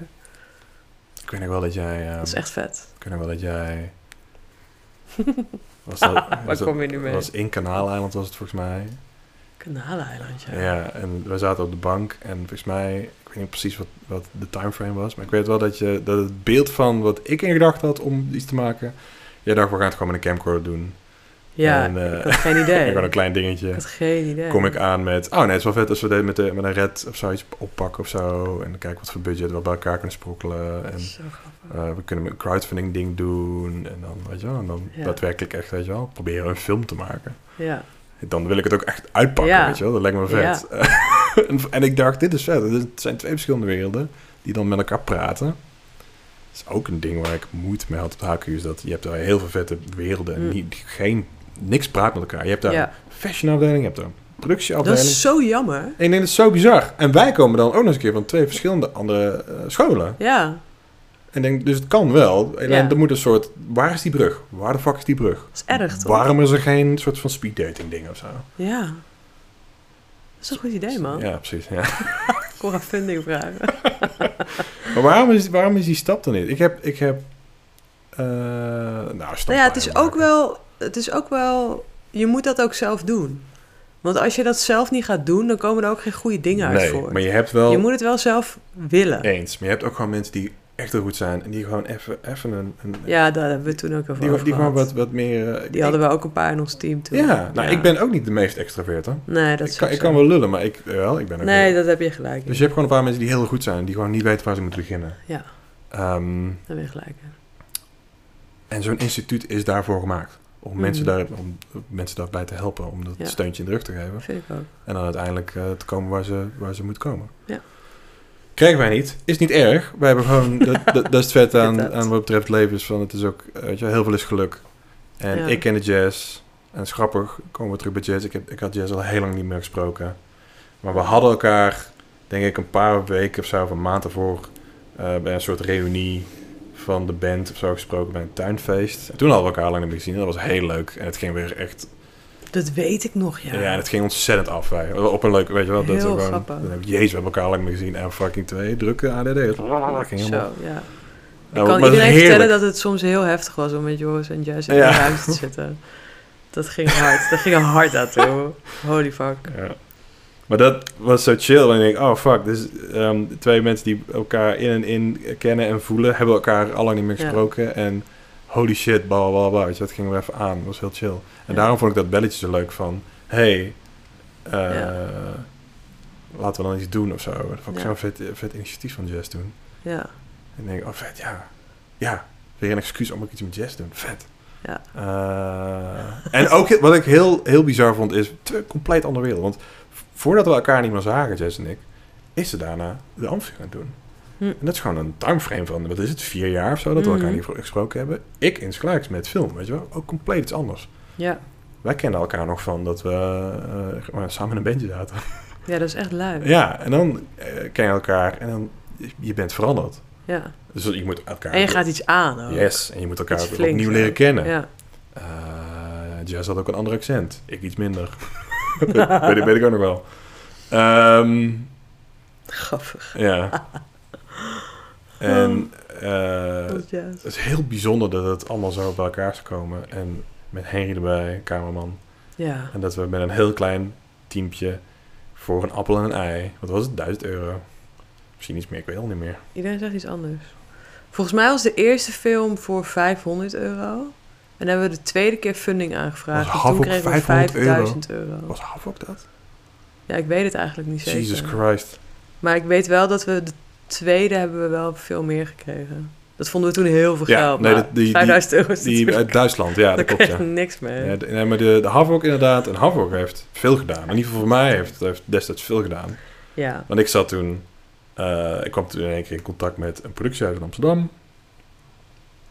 Ik weet nog wel dat jij. ehm,
Dat is echt vet.
Ik weet nog wel dat jij. Was dat, was
Waar
dat-
kom je nu mee?
was in Kanaaleiland was het volgens mij.
Kanaleiland, ja.
Ja, en we zaten op de bank en volgens mij, ik weet niet precies wat, wat de timeframe was, maar ik weet wel dat, je, dat het beeld van wat ik in gedachten had om iets te maken, jij dacht, we gaan het gewoon met een camcorder doen.
Ja,
En, eh,
ik had geen
En
idee.
Gewoon een
ik
klein dingetje.
had geen idee.
Kom ik aan met, oh nee, het is wel vet als we dit met, de, met een red of zoiets oppakken of zo. En kijken wat voor budget we bij elkaar kunnen sprokkelen. En
Zo grappig.
eh, we kunnen een crowdfunding ding doen. En dan, weet je wel, en dan
Ja.
daadwerkelijk echt, weet je wel, proberen een film te maken.
Ja.
Dan wil ik het ook echt uitpakken,
Ja.
weet je wel. Dat lijkt me vet. en, en ik dacht, dit is vet. Het zijn twee verschillende werelden die dan met elkaar praten. Dat is ook een ding waar ik moeite mee had op de HQ. Is dat je hebt daar heel veel vette werelden. En
Mm.
niet, geen, niks praat met elkaar. Je hebt daar
ja.
een fashionafdeling, je hebt daar een
Dat
productieafdeling.
is zo jammer.
En ik denk, dat is zo bizar. En wij komen dan ook nog eens een keer van twee verschillende andere eh, scholen.
Ja,
En ik denk, dus het kan wel. En
Ja.
dan moet een soort, waar is die brug? Waar de fuck is die brug?
dat is erg toch?
Waarom is er geen soort van speeddating ding of zo?
Ja. Dat is een goed idee, man.
Ja, precies. Ja.
Ik wil haar funding vragen.
Maar waarom is, waarom is die stap dan niet? Ik heb... Ik heb eh, nou, stap
Nou ja, het is
maken.
ook wel... Het is ook wel... Je moet dat ook zelf doen. Want als je dat zelf niet gaat doen, dan komen er ook geen goede dingen uit
Nee,
voor.
maar je hebt wel...
Je moet het wel zelf willen.
Eens. Maar je hebt ook gewoon mensen die echt heel goed zijn. En die gewoon even, even een... een
Ja, daar hebben we het toen ook over
die,
over
die gewoon
gehad.
wat, wat meer... eh,
Die hadden we ook een paar in ons team toen.
Ja, nou, ik ben ook niet de meest extravert, hè.
Nee, dat
ik,
is
kan,
ook
ik
zo.
kan wel lullen, maar ik, wel, ik ben ook
Nee,
heel-
dat heb je gelijk. in.
Dus je hebt gewoon een paar mensen die heel goed zijn, die gewoon niet weten waar ze moeten beginnen.
Ja.
Ehm,
Daar ben je gelijk in.
en zo'n instituut is daarvoor gemaakt. Om,
Mhm.
mensen daar, om mensen daarbij te helpen, om dat
Ja.
steuntje in de rug te geven.
Dat vind ik ook.
En dan uiteindelijk eh, te komen waar ze, waar ze moet komen.
Ja.
Krijgen wij niet. Is niet erg. Wij hebben gewoon... Dat, dat, dat is het vet aan,
Inderdaad.
aan wat betreft leven. Is van, het is ook... eh, Weet je, wel, heel veel is geluk. En
Ja.
ik ken de jazz. En het is grappig. Komen we terug bij jazz. Ik, heb, ik had jazz al heel lang niet meer gesproken. Maar we hadden elkaar... Denk ik een paar weken of zo... Of een maand ervoor... eh, bij een soort reunie van de band of zo gesproken. Bij een tuinfeest. En toen hadden we elkaar al lang niet meer gezien. en Dat was heel leuk. En het ging weer echt
Dat weet ik nog, ja.
ja. en het ging ontzettend af. Wij. Op een leuk, weet je wel. Dat
Heel
we gewoon,
grappig.
dan heb ik, jezus, we hebben elkaar lang meer gezien. En fucking twee drukke ADD'ers. Dat ging helemaal.
Zo, ja. Ik
Nou, maar dat
kan
is
iedereen
heerlijk.
vertellen dat het soms heel heftig was om met Joris en Jess in de
Ja.
ruimte te zitten. Dat ging hard. Dat ging hard aan toe. Holy fuck.
Ja. Maar dat was zo chill. En dan denk ik, oh fuck. Dus ehm, twee mensen die elkaar in en in kennen en voelen, hebben elkaar al lang niet meer
Ja.
gesproken. En holy shit, bla bla bla. Weet je, dat ging weer even aan. Dat was heel chill. En
Ja.
daarom vond ik dat belletje zo leuk van, hey, eh,
Ja.
laten we dan iets doen of zo. Dat vond ik
Ja.
zo'n vet, vet initiatief van Jazz toen.
Ja,
En denk ik, oh vet, ja. Ja, weer een excuus om ook iets met jazz te doen. Vet.
Ja.
Eh, en ook wat ik heel, heel bizar vond, is twee compleet andere wereld. Want voordat we elkaar niet meer zagen, Jess en ik, is ze daarna de Amfi gaan doen.
Hm.
En dat is gewoon een timeframe van, wat is het, vier jaar of zo, dat we elkaar
Mhm.
niet voor gesproken hebben. Ik in Sluiks met film, weet je wel. Ook compleet iets anders.
ja.
Wij kenden elkaar nog van dat we eh, gewoon samen in een bandje zaten.
ja dat is echt lui. Ja.
ja, en dan eh, ken je elkaar en dan, je bent veranderd. Dus je moet elkaar...
En je gaat iets aan ook.
Yes, en je moet elkaar
Iets
weer
flinks,
opnieuw
hè?
leren kennen.
Ja.
Eh, Jazz had ook een ander accent. Ik iets minder. dat weet, ik- weet ik ook nog wel. Ehm,
Grappig.
ja. En eh,
Dat is Jess.
het is heel bijzonder dat het allemaal zo bij elkaar is gekomen. En met Henry erbij, cameraman.
Ja.
En dat we met een heel klein teampje voor een appel en een ei... Wat was het? 1000 euro. Misschien iets meer, ik weet het al niet meer.
Iedereen zegt iets anders. Volgens mij was de eerste film voor 500 euro. En hebben we de tweede keer funding aangevraagd.
Was
en
half
toen
op
kregen we
500 euro?
5000 euro.
Was half ook dat?
Ja, ik weet het eigenlijk niet zeker.
Jesus Christ.
Maar ik weet wel dat we de tweede hebben we wel veel meer gekregen. Dat vonden we toen heel veel
Ja,
geld.
nee,
maar
dat- die- die-
5000 euro is
Die
natuurlijk-
uit Duitsland, ja,
daar
dat klopt,
kreeg
ja.
je niks mee.
Ja, de, nee, maar de, de Havok inderdaad, en Havok heeft veel gedaan. In ieder geval voor mij heeft heeft destijds veel gedaan.
Ja.
Want ik zat toen, eh, ik kwam toen in één keer in contact met een productiehuis in Amsterdam.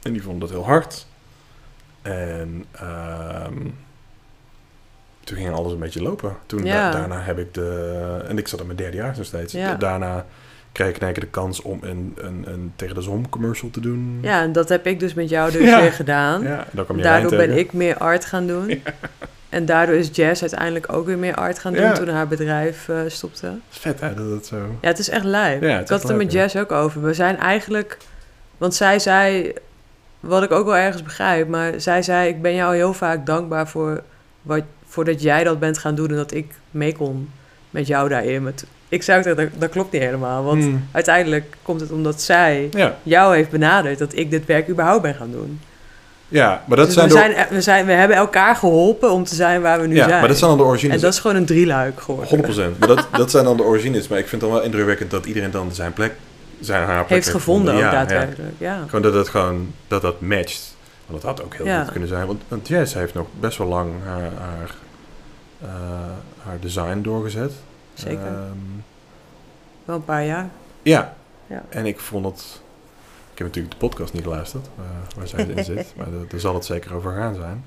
En die vonden dat heel hard. En ehm, toen ging alles een beetje lopen. Toen da-
Ja.
daarna heb ik de, en ik zat in mijn derde jaar nog steeds.
Ja.
Daarna kreeg ik in één keer de kans om een, een, een tegen de zon commercial te doen.
ja, en dat heb ik dus met jou dus
Ja.
weer gedaan.
Hm. Ja, en daar kwam Jarijn
Daardoor ben
tegen.
ik meer art gaan doen. En daardoor is Jess uiteindelijk ook weer meer art gaan doen
Ja.
toen haar bedrijf eh, stopte.
Vet hè, dat het zo...
Ja, het is echt lijp.
Ja, het is
ik had
echt
het er met
lijp, ja.
Jess ook over. We zijn eigenlijk... Want zij zei... Wat ik ook wel ergens begrijp... Maar zij zei... Ik ben jou heel vaak dankbaar voor... Wat, voor dat jij dat bent gaan doen... En dat ik mee kon met jou daarin. Maar t- ik zou ook zeggen... Dat, dat klopt niet helemaal. Want
Hmm.
uiteindelijk komt het omdat zij...
Ja.
Jou heeft benaderd dat ik dit werk überhaupt ben gaan doen.
Ja, maar dat
dus
zijn
we,
de...
zijn, we, zijn, we hebben elkaar geholpen om te zijn waar we nu
ja,
zijn.
maar dat zijn dan de
en
origines.
dat is gewoon een drieluik geworden.
100%. Maar dat, dat zijn dan de origines. Maar ik vind het dan wel indrukwekkend dat iedereen dan zijn plek, zijn haar plek
Heeft gevonden ook
Ja, Ja.
daadwerkelijk. Ja.
Gewoon dat dat gewoon, dat dat matcht. Want dat had ook heel
Ja.
goed kunnen zijn. Want, want Jess heeft nog best wel lang haar, haar, eh, haar design doorgezet.
Zeker.
Ehm,
Wel een paar jaar.
ja.
Ja.
En ik vond het... Ik heb natuurlijk de podcast niet geluisterd, eh, waar zij in zit. Maar daar- daar zal het zeker over gaan zijn.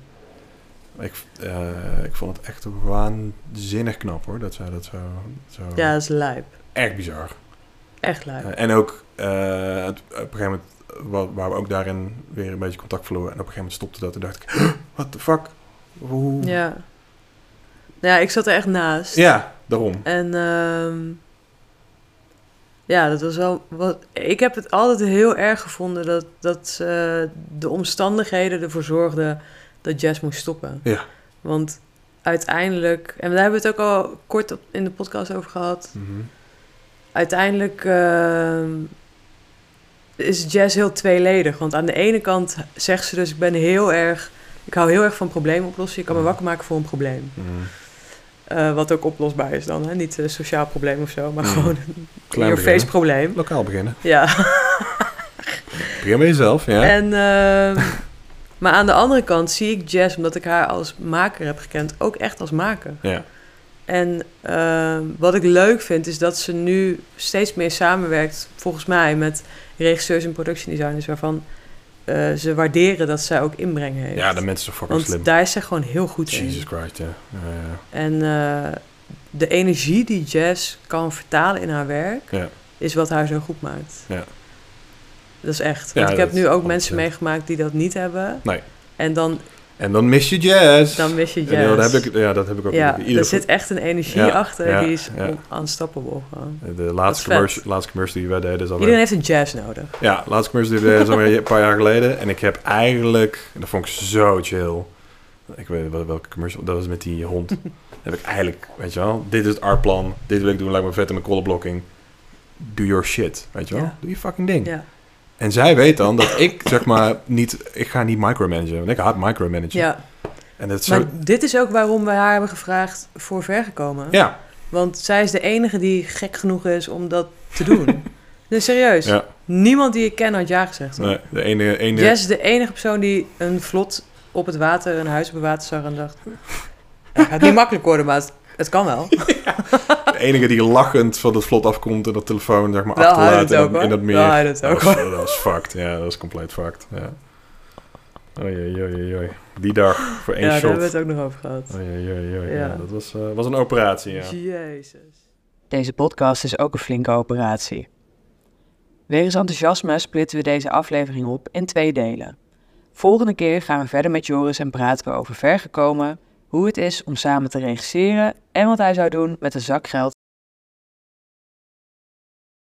Ik, eh, ik vond het echt waanzinnig knap hoor, dat zij dat zo... zo
Ja, dat is lijp.
Echt bizar.
Echt lijp.
Eh, en ook eh, het- op een gegeven moment, eh, wa- waar we ook daarin weer een beetje contact verloren. En op een gegeven moment stopte dat en dacht ik, what the fuck? Hoe?
Ja. Nou ja, ik zat er echt naast.
Ja, daarom.
En ehm, ja, dat was wel wat. Ik heb het altijd heel erg gevonden dat, dat eh, de omstandigheden ervoor zorgden dat jazz moest stoppen.
Ja.
Want uiteindelijk, en daar hebben we het ook al kort op- in de podcast over gehad.
Mhm.
Uiteindelijk ehm, is jazz heel tweeledig. Want aan de ene kant zegt ze dus: Ik ben heel erg. Ik hou heel erg van problemen oplossen. Je kan me wakker maken voor een probleem.
Mhm.
Eh, wat ook oplosbaar is dan. Hè? Niet een sociaal probleem of zo, maar
Mm.
gewoon
Klein
your face
beginnen.
probleem.
Lokaal beginnen.
Ja.
Begin bij jezelf, ja.
En, ehm, maar aan de andere kant zie ik Jess, omdat ik haar als maker heb gekend, ook echt als maker.
ja.
En ehm, wat ik leuk vind, is dat ze nu steeds meer samenwerkt, volgens mij, met regisseurs en production designers, waarvan eh, ze waarderen dat zij ook inbreng heeft.
ja, de mensen zijn fucking
Want
slim.
daar is zij gewoon heel goed in.
Jesus Christ, ja. Ja, ja.
En eh, de energie die Jess kan vertalen in haar werk,
Ja.
is wat haar zo goed maakt.
Ja.
Dat is echt.
Ja,
Want ik heb
dat is
nu ook
100%.
mensen meegemaakt die dat niet hebben.
Nee.
En dan,
En dan mis je jazz.
dan mis je
En
jazz.
dat heb ik, ja, dat heb ik ook.
ja,
iedere
er zit echt een energie
Ja,
achter
ja,
die is
ja.
on- unstoppable gewoon.
De
Dat is
laatste
vet.
commercial, laatste commercial die wij deden is alweer...
Iedereen heeft een jazz nodig.
Ja, laatste commercial die we deden is alweer een paar jaar geleden. En ik heb eigenlijk... en Dat vond ik zo chill. Ik weet wel welke commercial... Dat was met die hond. Dat heb ik eigenlijk, weet je wel... Dit is het artplan. Dit wil ik doen. Lijkt me vet in mijn colorblocking. Do your shit, weet je wel?
Ja.
Doe je fucking ding.
Ja.
En zij weet dan dat ik, zeg maar, niet... Ik ga niet micromanagen. Want ik haat micromanagen.
ja.
En dat is zo...
Maar dit is ook waarom we haar hebben gevraagd voor vergekomen.
Ja,
Want zij is de enige die gek genoeg is om dat te doen. nee, serieus.
Ja.
Niemand die ik ken had ja gezegd. hoor.
nee, de ene... ene
Jess is de enige persoon die een vlot op het water, een huis op het water zag en dacht... Het gaat niet makkelijk worden, maar het, het kan wel.
De enige die lachend van het vlot afkomt en dat telefoon zeg maar
Wel
achterlaat
huilend
in,
ook,
dat-
hoor.
in dat meer.
Wel huilend
dat,
ook,
was,
hoor.
dat was fucked, ja. Dat was compleet fucked, ja. Oei, oei, oei, oei. Die dag voor één
ja, daar
shot.
hebben we het ook nog over gehad.
Oei, oei, oei, oei. Ja.
Ja.
dat was, eh, was een operatie, ja.
Jezus.
Deze podcast is ook een flinke operatie. Wegens enthousiasme splitten we deze aflevering op in twee delen. Volgende keer gaan we verder met Joris en praten we over vergekomen, hoe het is om samen te regisseren en wat hij zou doen met een zak geld